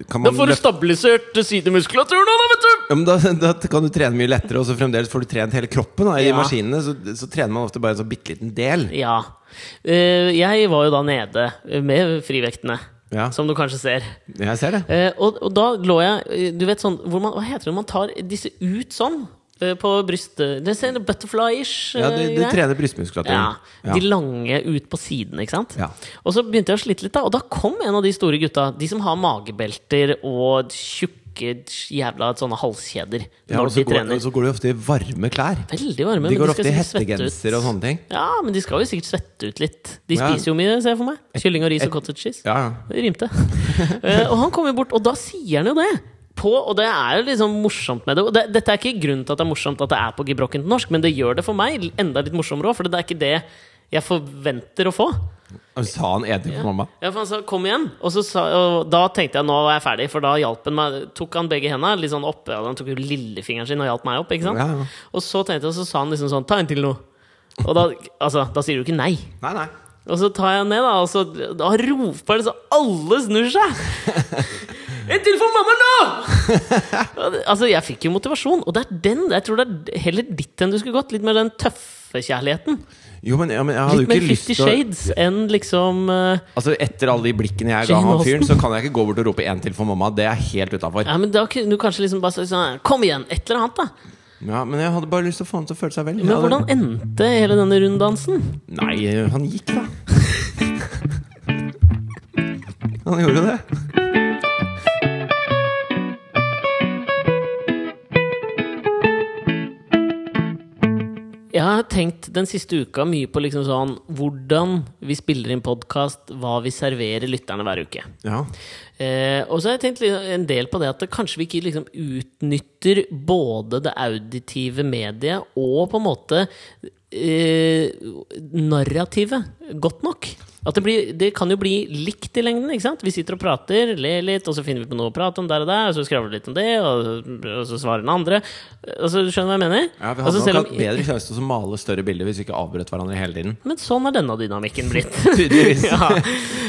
A: kan
B: Da
A: man
B: får du
A: løfte-
B: stabilisert sidemuskulaturen nå, da, vet du!
A: ja, men da, da kan du trene mye lettere, og så fremdeles får du trent hele kroppen. Da. I
B: Ja.
A: maskinene så, så trener man ofte bare en sånn bitte liten del.
B: Ja. Eh, jeg var jo da nede med frivektene,
A: Ja.
B: som du kanskje ser.
A: Jeg ser det.
B: Eh, og, og da lå jeg eh, Du vet sånn hvor man, Hva heter det når man tar disse ut sånn? eh, På brystet Det ser butterfly-ish
A: Ja, du, du
B: greier.
A: trener brystmuskulaturen.
B: Ja, De lange ut på siden, ikke sant?
A: Ja.
B: Og så begynte jeg å slite litt, da. Og da kom en av de store gutta. De som har magebelter og tjukke jævla sånne halskjeder
A: Ja, og
B: når
A: så
B: de
A: går,
B: trener.
A: og så går du ofte i varme klær.
B: Veldig varme.
A: De
B: men
A: går ofte
B: skal
A: i
B: sikkert svette ut.
A: hettegenser og sånne ting.
B: Ja, men de skal jo sikkert svette ut litt. De
A: Ja.
B: spiser jo mye, ser jeg for meg. Kylling og ris
A: et-
B: og cottage cheese.
A: Ja, ja.
B: Det rimte. Eh, og han kommer bort, og da sier han jo det. På, og det er jo liksom morsomt med det. Og det. Dette er ikke grunnen til at det er morsomt at det er på gebrokkent norsk, men det gjør det for meg enda litt morsommere òg, for det er ikke det jeg forventer å få.
A: Og sa han 'én til for mamma'?
B: Ja, for han sa 'kom igjen', og, så sa, og da tenkte jeg nå er jeg ferdig, for da hjalp han meg. Tok han begge hendene litt sånn oppe, og han tok jo lillefingeren sin og hjalp meg opp, ikke sant?
A: Ja, ja.
B: Og så tenkte jeg, så sa han liksom sånn 'ta en til nå'. Og da, altså, da sier du ikke nei.
A: Nei, nei.
B: Og så tar jeg han ned, da, og så da roper han så alle snur seg! En til for mamma nå! Og det- altså, jeg fikk jo motivasjon, og det er den jeg tror det er heller ditt enn du skulle gått. Litt mer den tøffe kjærligheten.
A: Jo, men, ja, men jeg hadde jo
B: Litt mer
A: ikke lyst
B: Fifty
A: til å
B: Shades enn liksom eh,
A: Altså Etter alle de blikkene jeg ga
B: Jane
A: han
B: Austen.
A: fyren, så kan jeg ikke gå bort og rope 'én til for mamma'. Det er helt utafor.
B: Ja, men da kunne du kanskje liksom bare sagt sånn Kom igjen! Et eller annet, da.
A: Ja, men jeg hadde bare lyst til å få han til å føle seg vel.
B: Men
A: Ja, det-
B: hvordan endte hele denne runddansen?
A: Nei, han gikk, da. han gjorde det.
B: Jeg Jeg har tenkt den siste uka mye på liksom sånn hvordan vi spiller inn podkast, hva vi serverer lytterne hver uke.
A: Ja.
B: Eh, og så har jeg tenkt litt- en del på det at det, kanskje vi ikke liksom utnytter både det auditive mediet og på en måte eh, narrativet godt nok. At det, blir, det kan jo bli likt i lengden. ikke sant? Vi sitter og prater, ler litt, og så finner vi på noe å prate om der og der, og så skravler vi litt om det, og, og så svarer den andre. Altså, skjønner du hva jeg mener?
A: ja vi
B: Altså,
A: hadde
B: selv
A: nok
B: om-
A: hatt bedre sjanse til å male større bilder hvis vi ikke avbrøt hverandre hele tiden.
B: men sånn er denne dynamikken blitt.
A: Tydeligvis.
B: ja.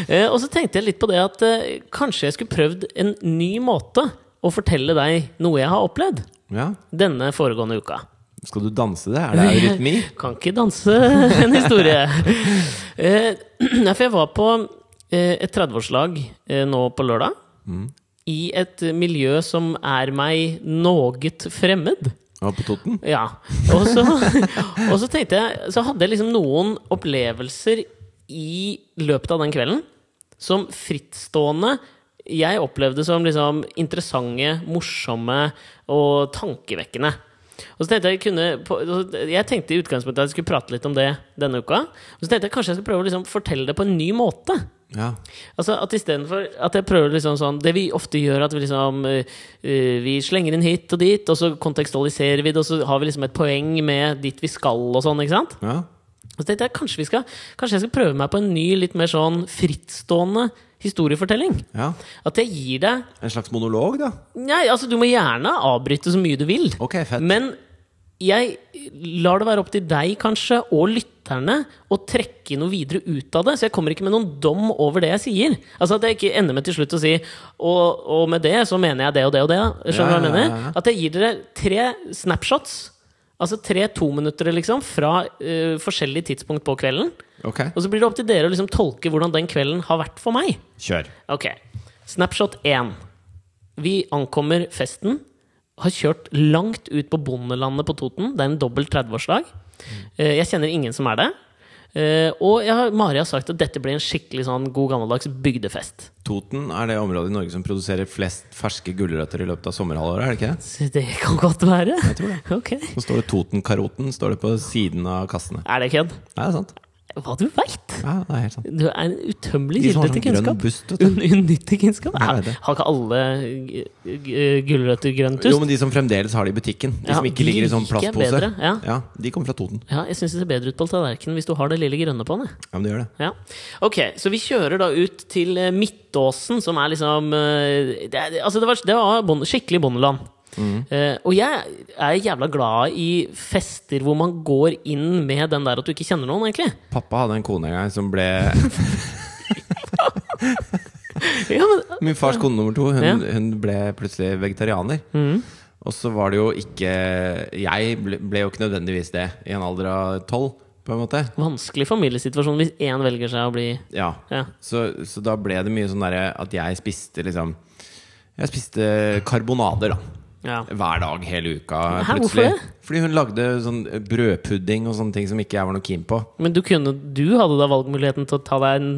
B: Eh, Og så tenkte jeg litt på det at eh, kanskje jeg skulle prøvd en ny måte å fortelle deg noe jeg har opplevd
A: Ja.
B: denne foregående uka.
A: Skal du danse det? Er det eurytmi?
B: Kan ikke danse en historie. Eh, Nei, for jeg var på eh, et 30-årslag eh, nå på lørdag.
A: Mm.
B: I et miljø som er meg noe fremmed.
A: Ja, på Toten?
B: Ja. Og så, og så tenkte jeg Så hadde jeg liksom noen opplevelser i løpet av den kvelden som frittstående jeg opplevde som liksom interessante, morsomme og tankevekkende. Og så tenkte jeg kunne på- Jeg tenkte i utgangspunktet at jeg skulle prate litt om det denne uka. Og så tenkte jeg kanskje jeg skulle prøve å liksom fortelle det på en ny måte.
A: Ja.
B: Altså at istedenfor at jeg prøver liksom sånn Det vi ofte gjør, at vi liksom eh, eh, Vi slenger inn hit og dit, og så kontekstualiserer vi det, og så har vi liksom et poeng med dit vi skal og sånn, ikke sant?
A: ja.
B: Og så tenkte jeg kanskje, vi skal, kanskje jeg skal prøve meg på en ny, litt mer sånn frittstående historiefortelling.
A: Ja.
B: At jeg gir deg
A: En slags monolog, da?
B: Nei, altså du må gjerne avbryte så mye du vil.
A: Ok, fett.
B: Men jeg lar det være opp til deg, kanskje, og lytterne, å trekke noe videre ut av det. Så jeg kommer ikke med noen dom over det jeg sier. Altså At jeg ikke ender med til slutt å si Og, og med det så mener jeg det og det og det. Skjønner
A: Ja, ja,
B: du hva jeg mener?
A: ja, ja.
B: At jeg gir dere tre snapshots. Altså tre tominuttere, liksom, fra eh, forskjellige tidspunkt på kvelden.
A: Ok.
B: Og så blir det opp til dere å liksom tolke hvordan den kvelden har vært for meg.
A: Kjør.
B: Ok. Snapshot 1. Vi ankommer festen. Har kjørt langt ut på bondelandet på Toten. Det er en dobbelt 30-årsdag. Eh, Jeg kjenner ingen som er det. Eh, Og jeg har, Mari har sagt at dette blir en skikkelig sånn god gammeldags bygdefest.
A: Toten er det området i Norge som produserer flest ferske gulrøtter i løpet av sommerhalvåret, er det ikke det?
B: Så det kan godt være. Jeg
A: tror det.
B: Ok.
A: Så står det Totenkaroten står det på siden av kassene.
B: Er det kødd?
A: Nei, det er sant.
B: Hva du veit!
A: Ja, det er helt sant.
B: Du er en utømmelig
A: De som har
B: kilde
A: sånn
B: til
A: grønn
B: kunnskap.
A: bust, vet du.
B: Un unyttig kunnskap.
A: Jeg
B: Har
A: vet det.
B: har ikke alle g- g- gulrøtter grønn
A: Jo,
B: tust?
A: men de som fremdeles har det i butikken. De
B: Ja,
A: som ikke
B: de
A: ligger i sånn
B: liker jeg
A: plastpose.
B: bedre, ja.
A: De kommer fra Toten.
B: Ja, jeg syns det ser bedre ut på tallerkenen hvis du har det lille grønne på den. jeg.
A: Ja, men de gjør det.
B: Ja. Ok, så vi kjører da ut til eh, Midtåsen, som er liksom eh, det, er- Altså, det var, det var bonde, skikkelig bondeland.
A: Mm.
B: Eh, og jeg er jævla glad i fester hvor man går inn med den der at du ikke kjenner noen, egentlig.
A: Pappa hadde en kone en gang som ble
B: Ja, men,
A: Min fars kone nummer to, hun,
B: Ja. Mm.
A: hun ble plutselig vegetarianer. Og så var det jo ikke Jeg ble, ble jo ikke nødvendigvis det i en alder av tolv, på en måte.
B: vanskelig familiesituasjon hvis én velger seg å bli
A: Ja.
B: Ja.
A: Så, så da ble det mye sånn derre at jeg spiste liksom Jeg spiste karbonader, da.
B: Ja.
A: Hver dag hele uka.
B: Hæ, hvorfor
A: plutselig.
B: det?
A: Fordi hun lagde sånn brødpudding og sånne ting som ikke jeg var noe keen på.
B: Men du kunne Du hadde da valgmuligheten til å ta deg en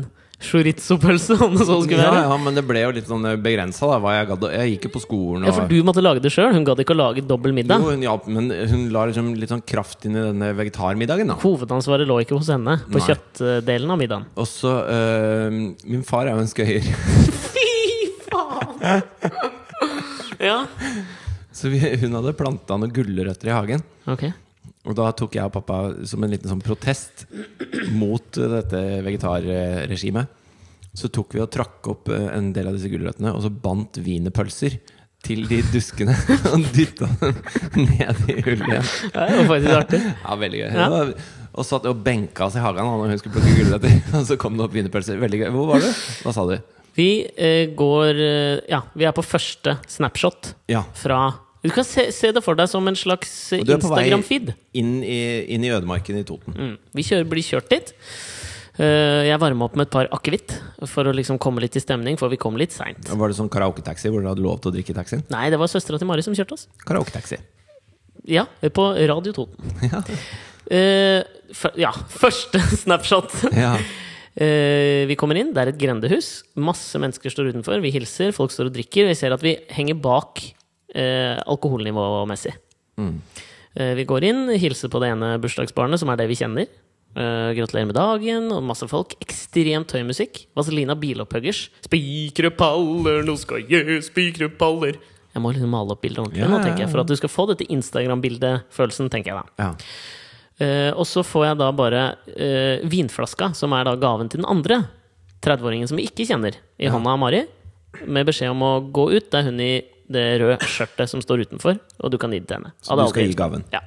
B: chorizo-pølse, om det så skulle
A: Ja,
B: være?
A: ja, men det ble jo litt sånn begrensa, da. Hva jeg, gadd å- jeg gikk jo på skolen
B: Ja, for
A: og
B: du måtte lage det sjøl? Hun gadd ikke å lage dobbel middag?
A: Jo, hun hjalp, men hun la liksom litt sånn kraft inn i denne vegetarmiddagen, da.
B: Hovedansvaret lå ikke hos henne på
A: Nei.
B: kjøttdelen av middagen.
A: Og så øh, Min far er jo en skøyer,
B: Fy faen! ja.
A: så vi, hun hadde planta noen gulrøtter i hagen.
B: Ok.
A: Og da tok jeg og pappa som en liten sånn protest mot eh, dette vegetarregimet. Så tok vi og trakk opp eh, en del av disse gulrøttene, og så bandt wienerpølser til de duskene og dytta dem ned i hullet igjen.
B: Ja, Det var faktisk artig.
A: Ja, veldig gøy.
B: Ja.
A: Det var- Og satt og benka oss i hagen da når hun skulle plukke gulrøtter. Og så kom det opp wienerpølser. Veldig gøy. Hvor var du? Hva sa du?
B: Vi eh, går eh, Ja, vi er på første snapshot
A: Ja.
B: fra Du kan se, se det for deg som en slags eh,
A: Og du er på vei
B: Instagram-feed.
A: inn i, inn i ødemarken i Toten.
B: Mm. Vi kjører, blir kjørt dit. Eh, jeg varma opp med et par akevitt for å liksom komme litt i stemning, for vi kom litt seint.
A: Var det sånn karaoketaxi hvor dere hadde lov til å drikke i taxien?
B: Nei, det var søstera til Mari som kjørte oss.
A: Karaoketaxi.
B: Ja, på Radio Toten. Eh, fø- ja, første snapshot.
A: Ja.
B: Eh, vi kommer inn, det er et grendehus. Masse mennesker står utenfor. Vi hilser, folk står og drikker. Og jeg ser at vi henger bak eh, alkoholnivåmessig. Eh, Vi går inn, hilser på det ene bursdagsbarnet, som er det vi kjenner. Eh, gratulerer med dagen, og masse folk. Ekstremt høy musikk. Vazelina Bilopphuggers. Spikre paller, nå skal jeg spikre paller. Jeg må liksom male opp bildet ordentlig
A: Ja,
B: nå,
A: ja,
B: tenker jeg.
A: ja.
B: For at du skal få dette Instagram-bildet-følelsen, tenker jeg da.
A: Ja.
B: Eh, og så får jeg da bare eh, vinflaska, som er da gaven til den andre 30-åringen som vi ikke kjenner, i hånda av Mari, med beskjed om å gå ut. Det er hun i det røde skjørtet som står utenfor, og du kan gi det til henne.
A: Så
B: Hadde
A: du skal
B: aldri-
A: gi gaven?
B: Ja.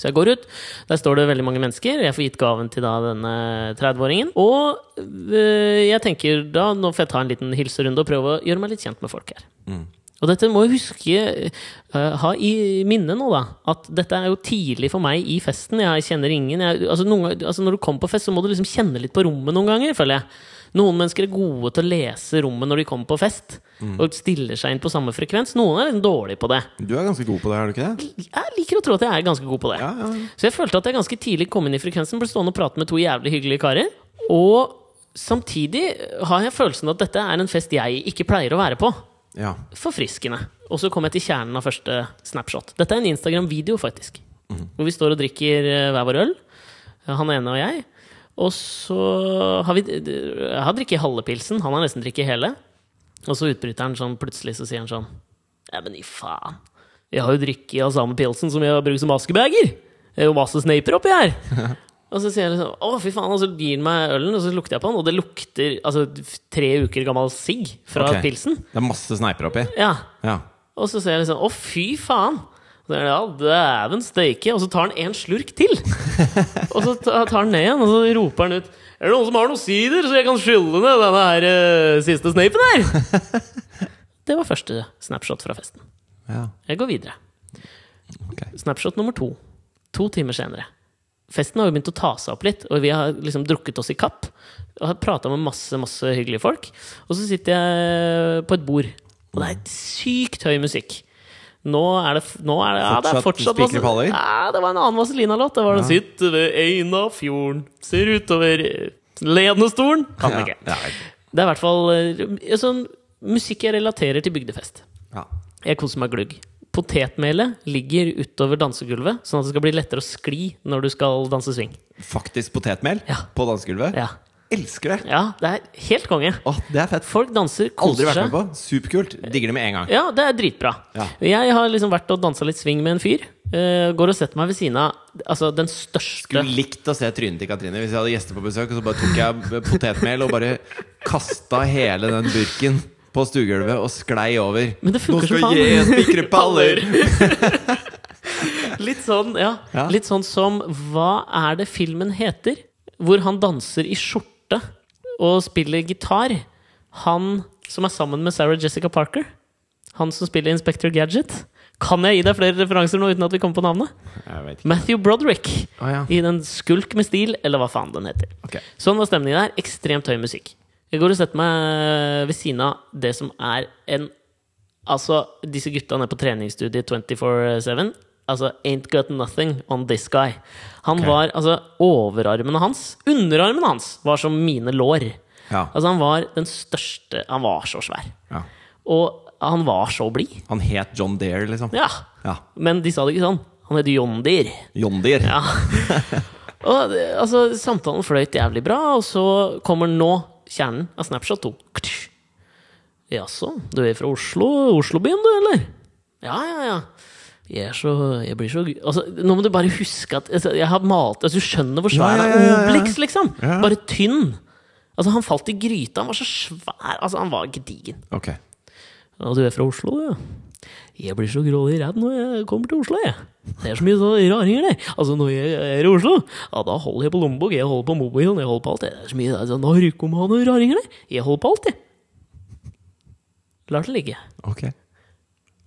B: Så jeg går ut. Der står det veldig mange mennesker. Jeg får gitt gaven til da denne 30-åringen. Og eh, jeg tenker da, nå får jeg ta en liten hilserunde og prøve å gjøre meg litt kjent med folk her. Og dette må jeg huske eh, ha i minne nå, da. At dette er jo tidlig for meg i festen. Jeg kjenner ingen. Jeg, altså, noen, gang- altså Når du kommer på fest, så må du liksom kjenne litt på rommet noen ganger, føler jeg. Noen mennesker er gode til å lese rommet når de kommer på fest,
A: Mm.
B: og stiller seg inn på samme frekvens. Noen er liksom dårlige på det.
A: Du er ganske god på det, er du ikke det?
B: Jeg liker å tro at jeg er ganske god på det.
A: Ja, ja, ja.
B: Så jeg følte at jeg ganske tidlig kom inn i frekvensen, ble stående og prate med to jævlig hyggelige karer. Og samtidig har jeg følelsen at dette er en fest jeg ikke pleier å være på.
A: Ja.
B: Forfriskende. Og så kom jeg til kjernen av første snapshot. Dette er en Instagram-video, faktisk. Hvor vi står og drikker eh, hver vår øl. eh, Han ene og jeg. Og så har vi eh, Jeg har drikket halve pilsen, han har nesten drikket hele. Og så utbryter han sånn plutselig så sier han sånn Ja, men i faen. Jeg har jo drikket av samme pilsen som jeg har brukt som askebeger. Det er jo masse snaper oppi her. Og så sier jeg liksom Å, fy faen. Og så gir han meg ølen, og så lukter jeg på den, og det lukter altså tre uker gammel sigg fra
A: Ok.
B: pilsen.
A: Det er masse sneiper oppi.
B: Ja.
A: Ja.
B: Og så ser jeg liksom Å, fy faen! Så er det, ja, Dæven steike! Og så tar han en slurk til! og så ta- tar han ned igjen, og så roper han ut Er det noen som har noen sider, så jeg kan skylle ned denne her eh, siste snapen her? det var første snapshot fra festen.
A: ja.
B: Jeg går videre.
A: Ok.
B: Snapshot nummer to. To timer senere. Festen har jo begynt å ta seg opp litt, og vi har liksom drukket oss i kapp. Og har prata med masse masse hyggelige folk. Og så sitter jeg på et bord, og det er sykt høy musikk. Nå er det, f- nå er det, ja, det er
A: Fortsatt
B: fortsatt vas-
A: Spikre Paller?
B: Ja, det var en annen Vazelina-låt. Det var den 'Sitter ved Einafjorden, ser utover eh, Lenestolen'. Kan
A: Ja.
B: ikke.
A: Ja.
B: Det er i hvert fall eh, sånn musikk jeg relaterer til bygdefest.
A: Ja.
B: Jeg koser meg glugg. Potetmelet ligger utover dansegulvet, sånn at det skal bli lettere å skli når du skal danse swing.
A: Faktisk potetmel
B: Ja.
A: på dansegulvet.
B: Ja,
A: Elsker det!
B: ja det er helt konge.
A: Åh, det er fett.
B: Folk danser,
A: Aldri
B: koser
A: vært med
B: seg.
A: på. Superkult. Digger det med en gang.
B: Ja, det er dritbra.
A: Ja.
B: Jeg har liksom vært og dansa litt swing med en fyr. eh, går og setter meg ved siden av altså, den største
A: Skulle likt å se trynet til Katrine hvis jeg hadde gjester på besøk. Og så bare tok jeg potetmel og bare kasta hele den burken på stuegulvet og sklei over.
B: Men det
A: Nå
B: funker
A: skal
B: som faen.
A: jeg spikre paller!
B: Litt sånn, ja.
A: Ja.
B: Litt sånn som Hva er det filmen heter? Hvor han danser i skjorte og spiller gitar. Han som er sammen med Sarah Jessica Parker. Han som spiller Inspector Gadget. Kan jeg gi deg flere referanser nå uten at vi kommer på navnet?
A: Jeg vet ikke.
B: Matthew Broderick
A: Å, ja.
B: i den Skulk med stil, eller hva faen den heter.
A: Ok.
B: Sånn var stemningen der. Ekstremt høy musikk. Jeg går og setter meg eh, ved siden av det som er en Altså, disse gutta nede på treningsstudiet 24-7 Altså, ain't got nothing on this guy. Han
A: Ok.
B: var, altså, Overarmene hans, underarmene hans, var som mine lår.
A: Ja.
B: Altså, han var den største Han var så svær.
A: Ja.
B: Og han var så blid.
A: Han het John Dare, liksom.
B: Ja.
A: Ja.
B: Men de sa det ikke sånn. Han heter John Deere.
A: John Deere.
B: Ja. og det- altså, samtalen fløyt jævlig bra, og så kommer nå kjernen av Snapshot 2. Ktsch. Jaså, du er fra Oslo? Oslobyen, du, eller? Ja, ja, ja. Jeg er så Jeg blir så gu- altså, Nå må du bare huske at altså, jeg har malt altså, Du skjønner hvor svær
A: Ja,
B: ja,
A: ja, ja, ja, ja.
B: Obelix, liksom.
A: Ja.
B: Bare tynn. Altså, han falt i gryta. Han var så svær. Altså, han var gedigen.
A: Ok.
B: Ja, du er fra Oslo, du, ja. Jeg blir så grådig redd når jeg kommer til Oslo, jeg. Det er så mye sånne raringer der. Altså, når jeg er i Oslo, ja, da holder jeg på lommebok, jeg holder på mobilen, jeg holder på alt. Det er så mye altså, narkomane raringer der. Jeg holder på alt, jeg. Lar det ligge.
A: Ok.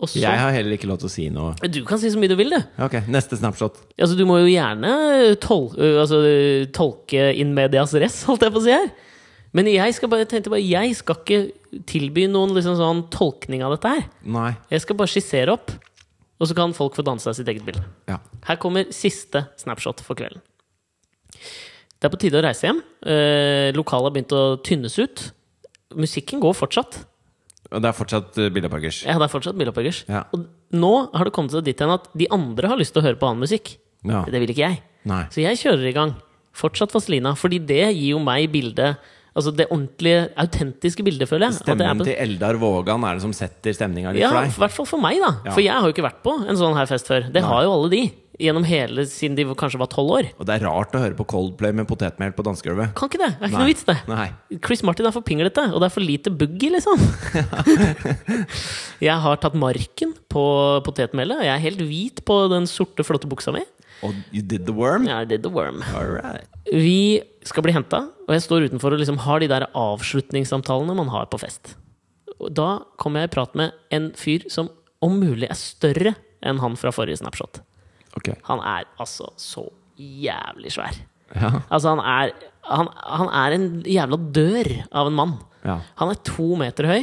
B: Og så
A: Jeg har heller ikke lov til å si noe.
B: Du kan si så mye du vil, du.
A: Ok, Neste snapshot.
B: Altså, du må jo gjerne tol øh, altså, øh, tolke in medias res, holdt jeg på å si her. Men jeg skal bare, tenkte bare, jeg skal ikke tilby noen liksom, sånn tolkning av dette her.
A: Nei.
B: Jeg skal bare skissere opp, og så kan folk få danse av sitt eget bilde.
A: Ja.
B: Her kommer siste snapshot for kvelden. Det er på tide å reise hjem. Eh, Lokalet har begynt å tynnes ut. Musikken går fortsatt.
A: Og det er fortsatt uh, Billa Parkers.
B: Ja, det er fortsatt Bill Opphuggers.
A: Ja.
B: Og nå har det kommet seg dit hen at de andre har lyst til å høre på annen musikk.
A: Ja.
B: Det vil ikke jeg.
A: Nei.
B: Så jeg kjører i gang. Fortsatt Vazelina. Fordi det gir jo meg bildet Altså det ordentlige, autentiske bildet, føler jeg. at det er
A: Stemmen
B: på-
A: til Eldar Vågan er det som setter stemninga litt
B: ja,
A: for
B: i
A: deg?
B: hvert fall for meg, da.
A: Ja.
B: For jeg har jo ikke vært på en sånn her fest før. Det har jo alle de. Gjennom hele siden de kanskje var tolv år.
A: Og det er rart å høre på Coldplay med potetmel på dansegulvet.
B: Kan ikke det. Det er ikke
A: Nei.
B: noe vits, det.
A: Nei.
B: Chris Martin er for pinglete, og det er for lite boogie, liksom. jeg har tatt marken på potetmelet. og Jeg er helt hvit på den sorte, flotte buksa mi.
A: Og You Did The Worm?
B: Jeg did the worm.
A: All right.
B: Vi skal bli henta, og jeg står utenfor og liksom har de der avslutningssamtalene man har på fest. Og da kommer jeg i prat med en fyr som om mulig er større enn han fra forrige Snapshot.
A: Ok.
B: Han er altså så jævlig svær.
A: Ja.
B: Altså, han er, han, han er en jævla dør av en mann.
A: Ja.
B: Han er to meter høy,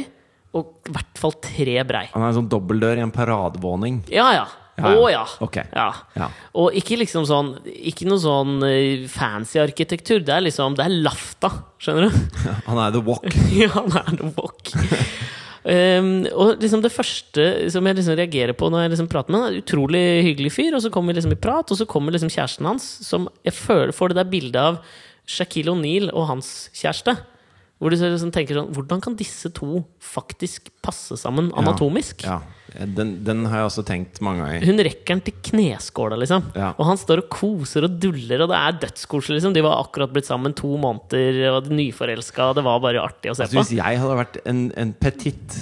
B: og i hvert fall tre brei.
A: Han er en sånn dobbeltdør i en paradevåning.
B: Ja, ja.
A: Ja,
B: Å
A: ja.
B: ja.
A: Ok.
B: ja.
A: Ja.
B: Og ikke liksom sånn Ikke noe sånn eh, fancy arkitektur. Det er liksom Det er lafta, skjønner du?
A: Han er The Walk.
B: ja, han er noe wok. Um, og liksom det første som jeg liksom reagerer på når jeg liksom prater med han, er en utrolig hyggelig fyr, og så kommer vi liksom i prat, og så kommer liksom kjæresten hans, som jeg føler får det der bildet av Shaquille O'Neal og hans kjæreste. Hvor du så liksom tenker sånn Hvordan kan disse to faktisk passe sammen anatomisk?
A: Ja. ja. Den, den har jeg også tenkt mange ganger.
B: Hun rekker den til kneskåla, liksom.
A: Ja.
B: Og han står og koser og duller, og det er dødskoselig, liksom. De var akkurat blitt sammen to måneder, og de nyforelska, og det var bare artig å se
A: Altså, hvis jeg hadde vært en, en petit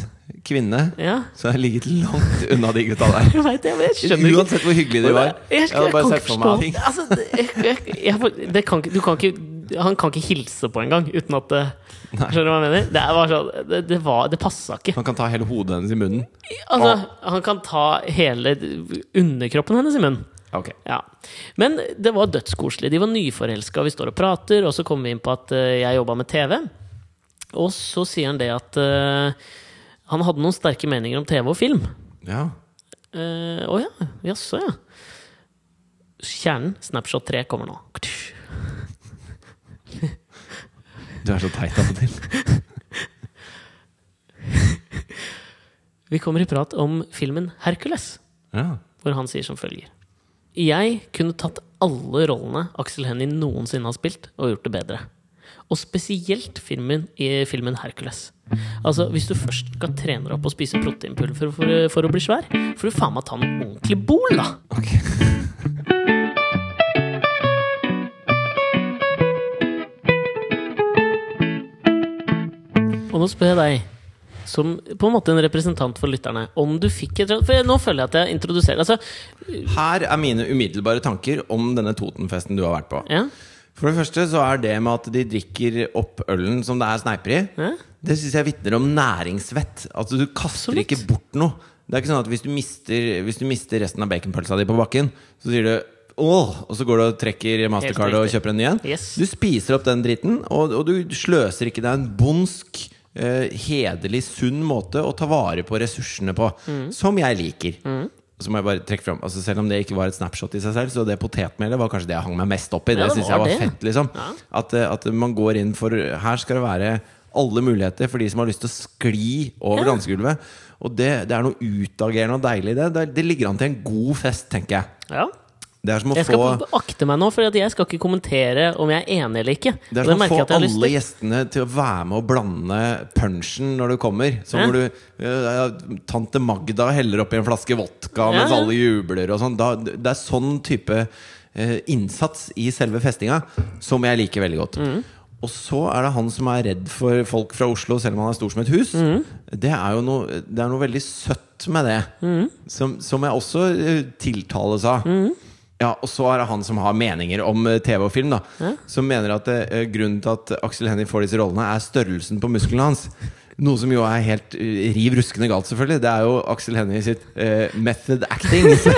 A: kvinne,
B: på. Ja.
A: så hadde jeg ligget langt unna de gutta der.
B: Jeg vet det, men jeg skjønner ikke
A: Uansett hvor hyggelige de var.
B: Jeg,
A: Jeg hadde
B: kan
A: bare
B: ikke
A: sett for meg
B: forstå-
A: ting.
B: Altså, det- jeg, jeg, jeg, det kan, ikke- du kan ikke Han kan ikke hilse på engang uten at det Skjønner du hva jeg mener? Det, er bare sånn, det, det, var- det passa ikke.
A: Man kan ta hele hodet hennes i munnen.
B: Altså, han kan ta hele underkroppen hennes i munnen.
A: Ok.
B: Ja. Men det var dødskoselig. De var nyforelska, vi står og prater, og så kommer vi inn på at eh, jeg jobba med TV. Og så sier han det at eh, han hadde noen sterke meninger om TV og film.
A: Ja.
B: Eh, Å ja. Jaså, ja. Kjernen, Snapshot 3, kommer nå.
A: Du er så teit av og til.
B: Vi kommer i prat om filmen 'Hercules',
A: Ja.
B: hvor han sier som følger Jeg kunne tatt alle rollene Aksel Hennie noensinne har spilt, og gjort det bedre. Og spesielt filmen i filmen 'Hercules'. Altså, Hvis du først skal trene deg opp og spise proteinpulver for, for å bli svær, får du faen meg ta en ordentlig bol, da!
A: Ok.
B: Og nå spør jeg deg, som på en måte en representant for lytterne, om du fikk et For jeg, nå føler jeg at jeg introduserer Altså,
A: Her er mine umiddelbare tanker om denne Totenfesten du har vært på.
B: ja.
A: For det første så er det med at de drikker opp ølen som det er sneiper i,
B: Ja.
A: det syns jeg vitner om næringsvett. Altså Du kaster
B: Absolutt.
A: ikke bort noe. Det er ikke sånn at Hvis du mister, hvis du mister resten av baconpølsa di på bakken, så sier du Åh, og så går du og trekker mastercard og
B: riktig.
A: kjøper en ny en.
B: Yes.
A: Du spiser opp den dritten, og, og du sløser ikke. Det er en bondsk, eh, hederlig, sunn måte å ta vare på ressursene på.
B: Mm.
A: Som jeg liker. Så må jeg bare trekke frem, altså Selv om det ikke var et snapshot i seg selv, så det potetmelet var kanskje det jeg hang meg mest opp i.
B: Ja,
A: det
B: det
A: synes jeg
B: var
A: var
B: det.
A: fett, liksom. At, eh, at man går inn for Her skal det være alle muligheter for de som har lyst til å skli over dansegulvet. Og det, det er noe utagerende og deilig i det. det. Det ligger an til en god fest, tenker jeg.
B: ja.
A: Det er som å
B: Jeg skal
A: få
B: akte meg nå, for at jeg skal ikke kommentere om jeg er enig eller ikke.
A: Det er
B: Og
A: som å
B: merker
A: få
B: jeg at jeg har
A: alle
B: lyst til.
A: gjestene til å være med og blande punchen når du kommer. Som
B: Ja.
A: når du eh, ja, ja, Tante Magda heller oppi en flaske vodka mens
B: Ja, ja.
A: alle jubler og sånn. Da, det er sånn type eh, innsats i selve festinga som jeg liker veldig godt.
B: Mm.
A: Og så er det han som er redd for folk fra Oslo, selv om han er stor som et hus.
B: Mm.
A: Det er jo noe, det er noe veldig søtt med det,
B: Mm.
A: som, som jeg også eh, tiltales av. Ja, Og så er det han som har meninger om eh, TV og film. da Som mener at eh, grunnen til at Aksel Hennie får disse rollene, er størrelsen på musklene hans. Noe som jo er helt eh, riv ruskende galt, selvfølgelig. Det er jo Aksel Hennie sitt eh, method acting som,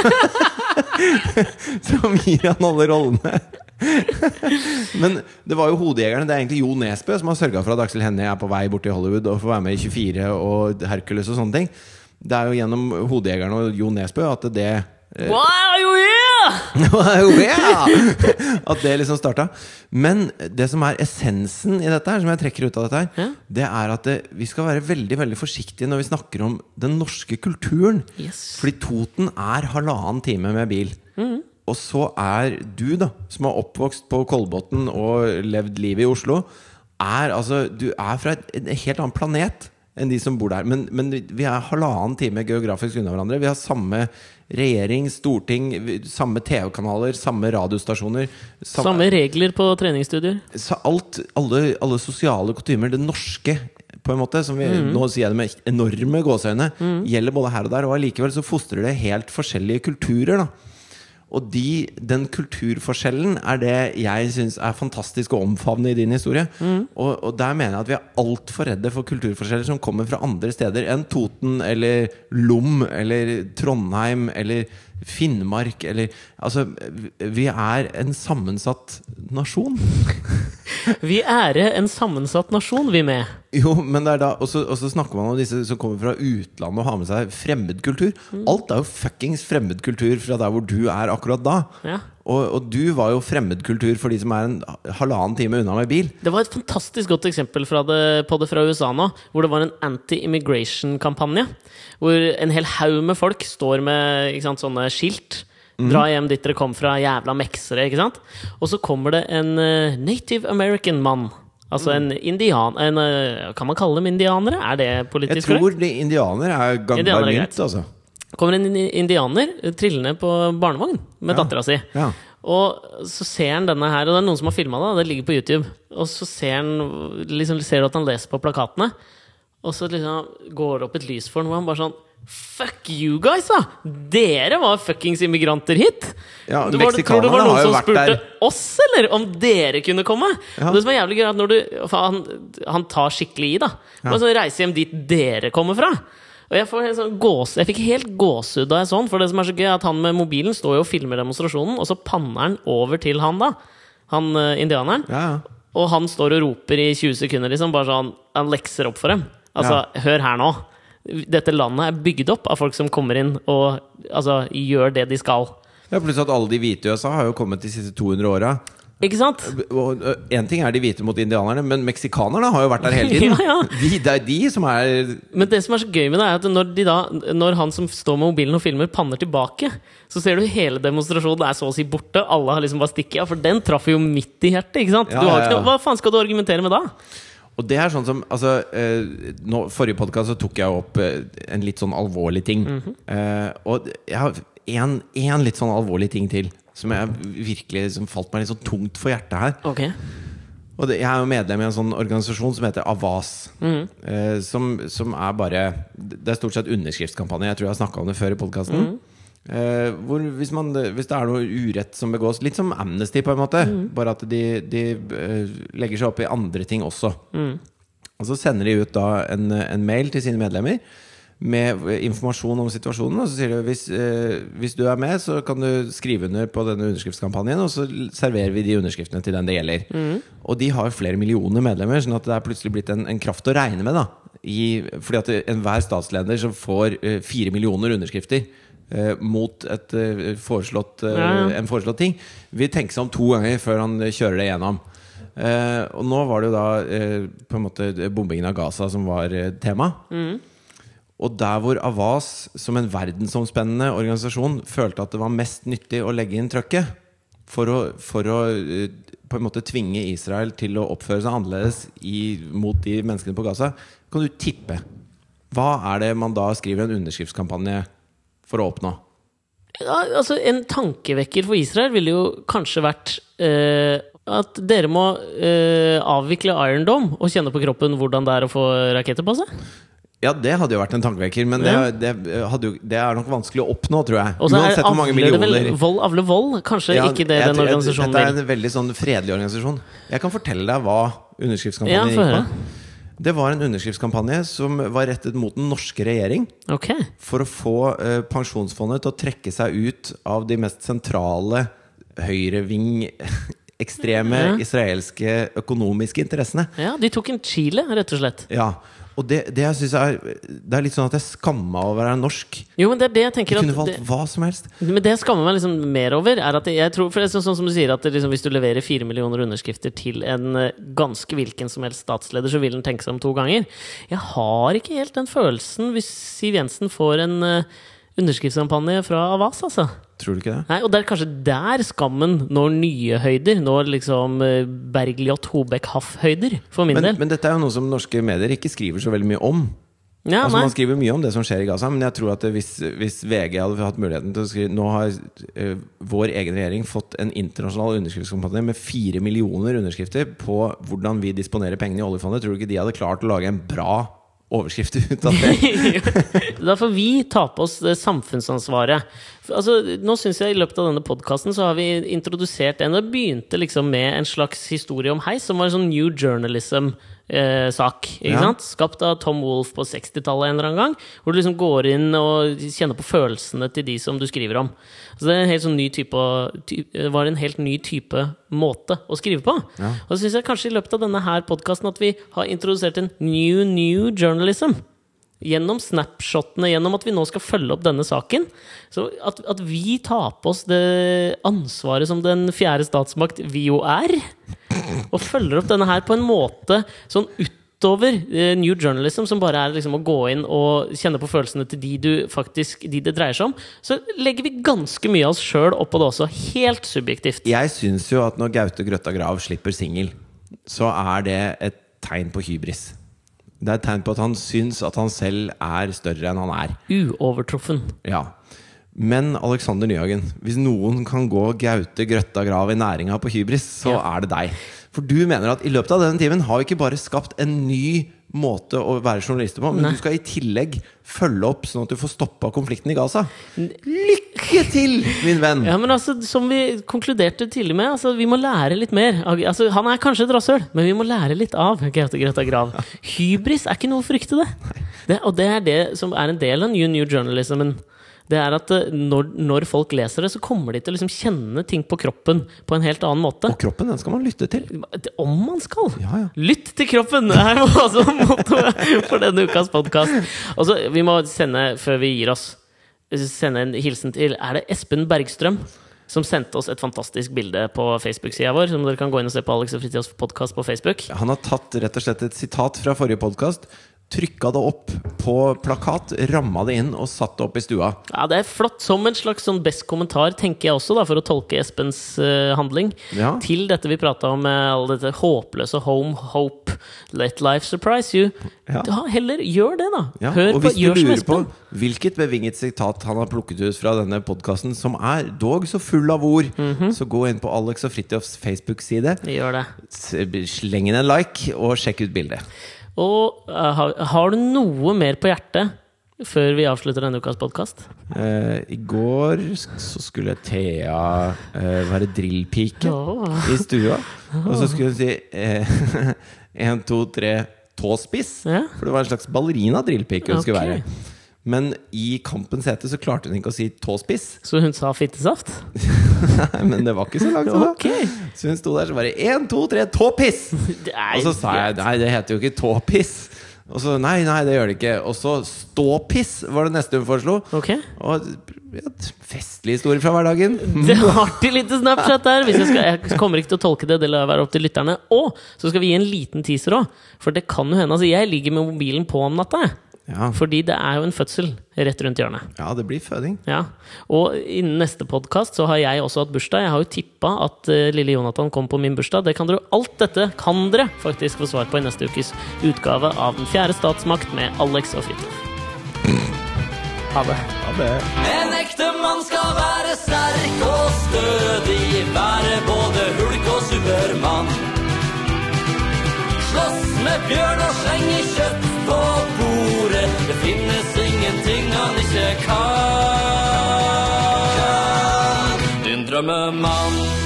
A: som gir han alle rollene. Men det var jo Hodejegerne. Det er egentlig Jo Nesbø som har sørga for at Aksel Hennie er på vei bort til Hollywood og får være med i 24 og Hercules og sånne ting. Det er jo gjennom Hodejegerne og Jo Nesbø at det
B: Wow, yeah!
A: Yeah! At det liksom starta. Men det som er essensen i dette, her, som jeg trekker ut av dette, her det er at det, vi skal være veldig veldig forsiktige når vi snakker om den norske kulturen.
B: Yes.
A: Fordi Toten er halvannen time med bil. Og så er du, da, som er oppvokst på Kolbotn og levd livet i Oslo, er altså Du er fra et, en helt annen planet enn de som bor der. Men, men vi er halvannen time geografisk unna hverandre. Vi har samme regjering, storting, vi- samme TV-kanaler, samme radiostasjoner. sam-
B: Samme regler på treningsstudier.
A: så alt, alle, alle sosiale kutymer, det norske på en måte, som vi, Nå sier jeg det med enorme gåseøyne. Gjelder både her og der. Og allikevel så fostrer det helt forskjellige kulturer. da Og de, den kulturforskjellen er det jeg syns er fantastisk å omfavne i din historie. Og, og der mener jeg at vi er altfor redde for kulturforskjeller som kommer fra andre steder enn Toten eller Lom eller Trondheim eller Finnmark eller Altså, vi er en sammensatt nasjon.
B: Vi ære en sammensatt nasjon, vi med.
A: Jo, men det er da Og så og så snakker man om disse som kommer fra utlandet og har med seg fremmedkultur.
B: Mm.
A: Alt er jo fuckings fremmedkultur fra der hvor du er akkurat da.
B: Ja.
A: Og, og du var jo fremmedkultur for de som er en halvannen time unna med bil.
B: Det var et fantastisk godt eksempel fra det, på det fra USA nå, hvor det var en anti-immigration-kampanje. Hvor en hel haug med folk står med ikke sant, sånne skilt.
A: Mhm.
B: Dra hjem dit dere kom fra, jævla meksere, ikke sant? Og så kommer det en eh, native american-mann. Altså
A: Mm.
B: en indian... En, eh, kan man kalle dem indianere? Er det
A: Jeg
B: politisk korrekt?
A: tror de indianere er gangbar
B: Indianere er
A: mynt, altså.
B: Kommer en indi- indianer eh, trillende på barnevogn med
A: Ja.
B: dattera si.
A: Ja.
B: Og så ser han denne her, og det er noen som har filma det, og det ligger på YouTube. Og så ser han liksom, ser du at han leser på plakatene, og så liksom går det opp et lys for ham, hvor han bare sånn Fuck you guys, da! Dere var fuckings immigranter hit!
A: Ja,
B: Det var- tror
A: meksikanerne
B: det var noen
A: har jo
B: som
A: vært
B: spurte
A: der.
B: oss, eller? Om dere kunne komme?
A: Ja.
B: Og Det som er jævlig gøy, er at når du for han, han tar skikkelig i, da. Og så reiser hjem dit dere kommer fra. Og jeg, får helt sånn gås, jeg fikk helt gåsehud da jeg så han. For det som er så gøy, er at han med mobilen står jo og filmer demonstrasjonen, og så panner han over til han, da. Han eh, indianeren.
A: Ja, ja.
B: Og han står og roper i 20 sekunder, liksom. Bare sånn Han lekser opp for dem. Altså, hør her nå. Dette landet er bygd opp av folk som kommer inn og altså, gjør det de skal.
A: ja, pluss at alle de hvite i USA har jo kommet de siste 200 åra.
B: Ikke sant?
A: Én ting er de hvite mot indianerne, men meksikanerne har jo vært der hele tiden.
B: Ja, ja.
A: De, det er de som er
B: Men det som er så gøy med det, er at når, de da, når han som står med mobilen og filmer, panner tilbake, så ser du hele demonstrasjonen er så å si borte. Alle har liksom bare stikket av, for den traff jo midt i hjertet. ikke sant?
A: Ja,
B: du har
A: ja,
B: ikke
A: ja.
B: noe, hva faen skal du argumentere med da?
A: Og det er sånn som altså, eh, nå, Forrige podkast tok jeg opp eh, en litt sånn alvorlig ting. eh, og jeg har en, en litt sånn alvorlig ting til som jeg virkelig som falt meg litt sånn tungt for hjertet her.
B: Ok,
A: Og det, jeg er jo medlem i en sånn organisasjon som heter Avas. eh, som, som er bare Det er stort sett underskriftskampanje. Jeg tror jeg har snakka om det før i podkasten. Eh, hvor hvis, man, hvis det er noe urett som begås Litt som Amnesty, på en måte. Bare at de, de eh, legger seg opp i andre ting også. Og så sender de ut da en, en mail til sine medlemmer med informasjon om situasjonen. Og så sier de hvis, eh, hvis du er med, så kan du skrive under på denne underskriftskampanjen. Og så l- serverer vi de underskriftene til den det gjelder.
B: Mm.
A: Og de har jo flere millioner medlemmer, sånn at det er plutselig blitt en, en kraft å regne med. da I, Fordi at det- enhver statsleder som får eh, fire millioner underskrifter eh, mot et, eh, foreslått, eh,
B: Ja, ja.
A: en foreslått ting, vil tenke seg om to ganger før han eh, kjører det gjennom. Eh, og nå var det jo da eh, på en måte bombingen av Gaza som var eh, tema. Og der hvor Avas, som en verdensomspennende organisasjon, følte at det var mest nyttig å legge inn trøkket for å, for å eh, på en måte tvinge Israel til å oppføre seg annerledes i, mot de menneskene på Gaza, kan du tippe hva er det man da skriver en underskriftskampanje for å oppnå?
B: ja, altså En tankevekker for Israel ville jo kanskje vært eh, at dere må eh, avvikle Iron Dome og kjenne på kroppen hvordan det er å få raketter på seg.
A: Ja, det hadde jo vært en tankevekker, men det, det, eh, hadde jo, det er nok vanskelig å oppnå, tror jeg.
B: Og så er-
A: Uansett hvor mange
B: avler det vel
A: millioner.
B: Vold avler vold. Kanskje
A: Ja,
B: ikke det
A: jeg
B: den
A: tror- jeg-
B: organisasjonen
A: Dette er
B: vil.
A: en veldig sånn fredelig organisasjon. Jeg kan fortelle deg hva
B: Ja,
A: underskriftskampanjen
B: få
A: gikk
B: høre.
A: på. Det var en underskriftskampanje som var rettet mot den norske regjering
B: Ok,
A: for å få eh, pensjonsfondet til å trekke seg ut av de mest sentrale høyreving ekstreme
B: Ja.
A: israelske økonomiske interessene.
B: Ja, De tok en chile, rett og slett.
A: Ja, og det, det jeg synes er Det er litt sånn at jeg skammer meg over å være norsk.
B: Jo, men det er det jeg
A: Jeg
B: tenker at
A: kunne valgt
B: det,
A: hva som helst.
B: Men det jeg skammer meg liksom mer over, er at jeg tror For det er sånn, sånn som du sier, at det liksom, hvis du leverer fire millioner underskrifter til en eh, ganske hvilken som helst statsleder, så vil den tenke seg om to ganger. Jeg har ikke helt den følelsen hvis Siv Jensen får en eh, underskriftskampanje fra Avas, altså.
A: Tror du ikke det?
B: Nei, og det er kanskje der skammen når nye høyder. Når liksom eh, Bergljot Hobek Haff-høyder, for min
A: Men,
B: del.
A: men dette er jo noe som norske medier ikke skriver så veldig mye om.
B: ja,
A: altså
B: nei.
A: Man skriver mye om det som skjer i Gaza, men jeg tror at det, hvis, hvis VG hadde hatt muligheten til å skrive Nå har eh, vår egen regjering fått en internasjonal underskriftskampanje med fire millioner underskrifter på hvordan vi disponerer pengene i oljefondet. Tror du ikke de hadde klart å lage en bra overskrift ut av det?
B: Da får vi ta på oss det samfunnsansvaret. For, Altså, nå synes jeg I løpet av denne podkasten har vi introdusert en og begynte liksom med en slags historie om heis, som var en sånn New eh, Journalism-sak.
A: Ja.
B: Skapt av Tom Wolfe på 60-tallet en eller annen gang. Hvor du liksom går inn og kjenner på følelsene til de som du skriver om. Så det er en helt sånn ny type, å- ty, var en helt ny type måte å skrive på. Og så syns jeg kanskje i løpet av denne her podkasten at vi har introdusert en new new journalism. Gjennom snapshotene, gjennom at vi nå skal følge opp denne saken. Så at, at vi tar på oss det ansvaret som den fjerde statsmakt vi jo er, og følger opp denne her på en måte sånn utover eh, New Journalism, som bare er liksom å gå inn og kjenne på følelsene til de, du faktisk, de det dreier seg om, så legger vi ganske mye av oss sjøl oppå det også. Helt subjektivt.
A: Jeg syns jo at når Gaute Grøtta Grav slipper singel, så er det et tegn på hybris. Det er et tegn på at han syns at han selv er større enn han er.
B: Uovertruffen.
A: Ja. Men Alexander Nyhagen, hvis noen kan gå Gaute Grøtta Grav i næringa på hybris, så
B: Ja.
A: er det deg. For du mener at i løpet av denne timen har vi ikke bare skapt en ny måte å være journalist på, men
B: Nei.
A: du skal i tillegg følge opp sånn at du får stoppa konflikten i Gaza. Lykke til, min venn!
B: Ja, men altså, Som vi konkluderte tidlig med, altså, vi må lære litt mer. av- Altså, han er kanskje et rasshøl, men vi må lære litt av Gaute Grøtta Grav. Hybris er ikke noe å frykte, det. det. Og det er det som er en del av New New Journalismen. Det er at eh, når, når folk leser det, så kommer de til å liksom kjenne ting på kroppen på en helt annen måte.
A: Og kroppen, den skal man lytte til.
B: Om man skal!
A: Ja, ja.
B: Lytt til kroppen! Det er jo altså mottoet for denne ukas podkast. Altså, vi må sende, før vi gir oss, sende en hilsen til Er det Espen Bergstrøm? Som sendte oss et fantastisk bilde på Facebook-sida vår. Som dere kan gå inn og se på Alex og Fritjofs podkast på Facebook.
A: Han har tatt rett og slett et sitat fra forrige podkast, trykka det opp på plakat, ramma det inn og satt det opp i stua.
B: Ja, Det er flott. Som en slags sånn best kommentar, tenker jeg også, da, for å tolke Espens eh, handling.
A: Ja.
B: Til dette vi prata om, eh, alle dette håpløse Home Hope, Let Life Surprise You.
A: Ja.
B: Da, heller gjør det, da.
A: Ja,
B: Hør
A: og
B: på
A: hvis du
B: Gjør som
A: lurer på
B: Espen.
A: hvilket bevinget sitat han har plukket ut fra denne podkasten, som er dog så full av ord,
B: Mhm.
A: så gå inn på Alex og Fridtjofs Facebook-side,
B: Gjør det.
A: s- sleng inn en like, og sjekk ut bildet.
B: Og eh, har, har du noe mer på hjertet før vi avslutter denne ukas podkast?
A: Eh, I går s- så skulle Thea eh, være drillpike
B: Åh.
A: i stua. Og så skulle hun si én, to, tre, tåspiss.
B: Ja.
A: For det var en slags ballerina-drillpike hun skulle
B: Ok.
A: være. Men i kampens hete så klarte hun ikke å si tåspiss.
B: Så hun sa fittesaft?
A: Nei, men det var ikke så langt. som det.
B: Ok.
A: Så hun sto der så bare én, to, tre, tåpiss!
B: Det er-
A: Og så sa jeg nei, det heter jo ikke tåpiss. Og så nei, nei, det gjør det ikke. Og så ståpiss var det neste hun foreslo.
B: Ok.
A: Og et festlig historie fra hverdagen.
B: Det er artig lite Snapchat der! Hvis jeg, skal, jeg kommer ikke til å tolke det, det lar jeg være opp til lytterne. Og så skal vi gi en liten teaser òg, for det kan jo hende. Altså, jeg ligger med mobilen på om natta, jeg.
A: Ja,
B: fordi det er jo en fødsel rett rundt hjørnet.
A: ja det blir føding.
B: Ja, Og innen neste podkast så har jeg også hatt bursdag. Jeg har jo tippa at eh, lille Jonathan kom på min bursdag. Det kan dere, alt dette kan dere faktisk få svar på i neste ukes utgave av Den fjerde statsmakt med Alex og Fridtjof. Ha det.
A: Ja, det
C: En ekte mann skal være sterk og stødig, være både hulk og supermann. Slåss med bjørn og slenge kjøtt på bordet, det finnes ingenting han ikke kan. Din drømmemann.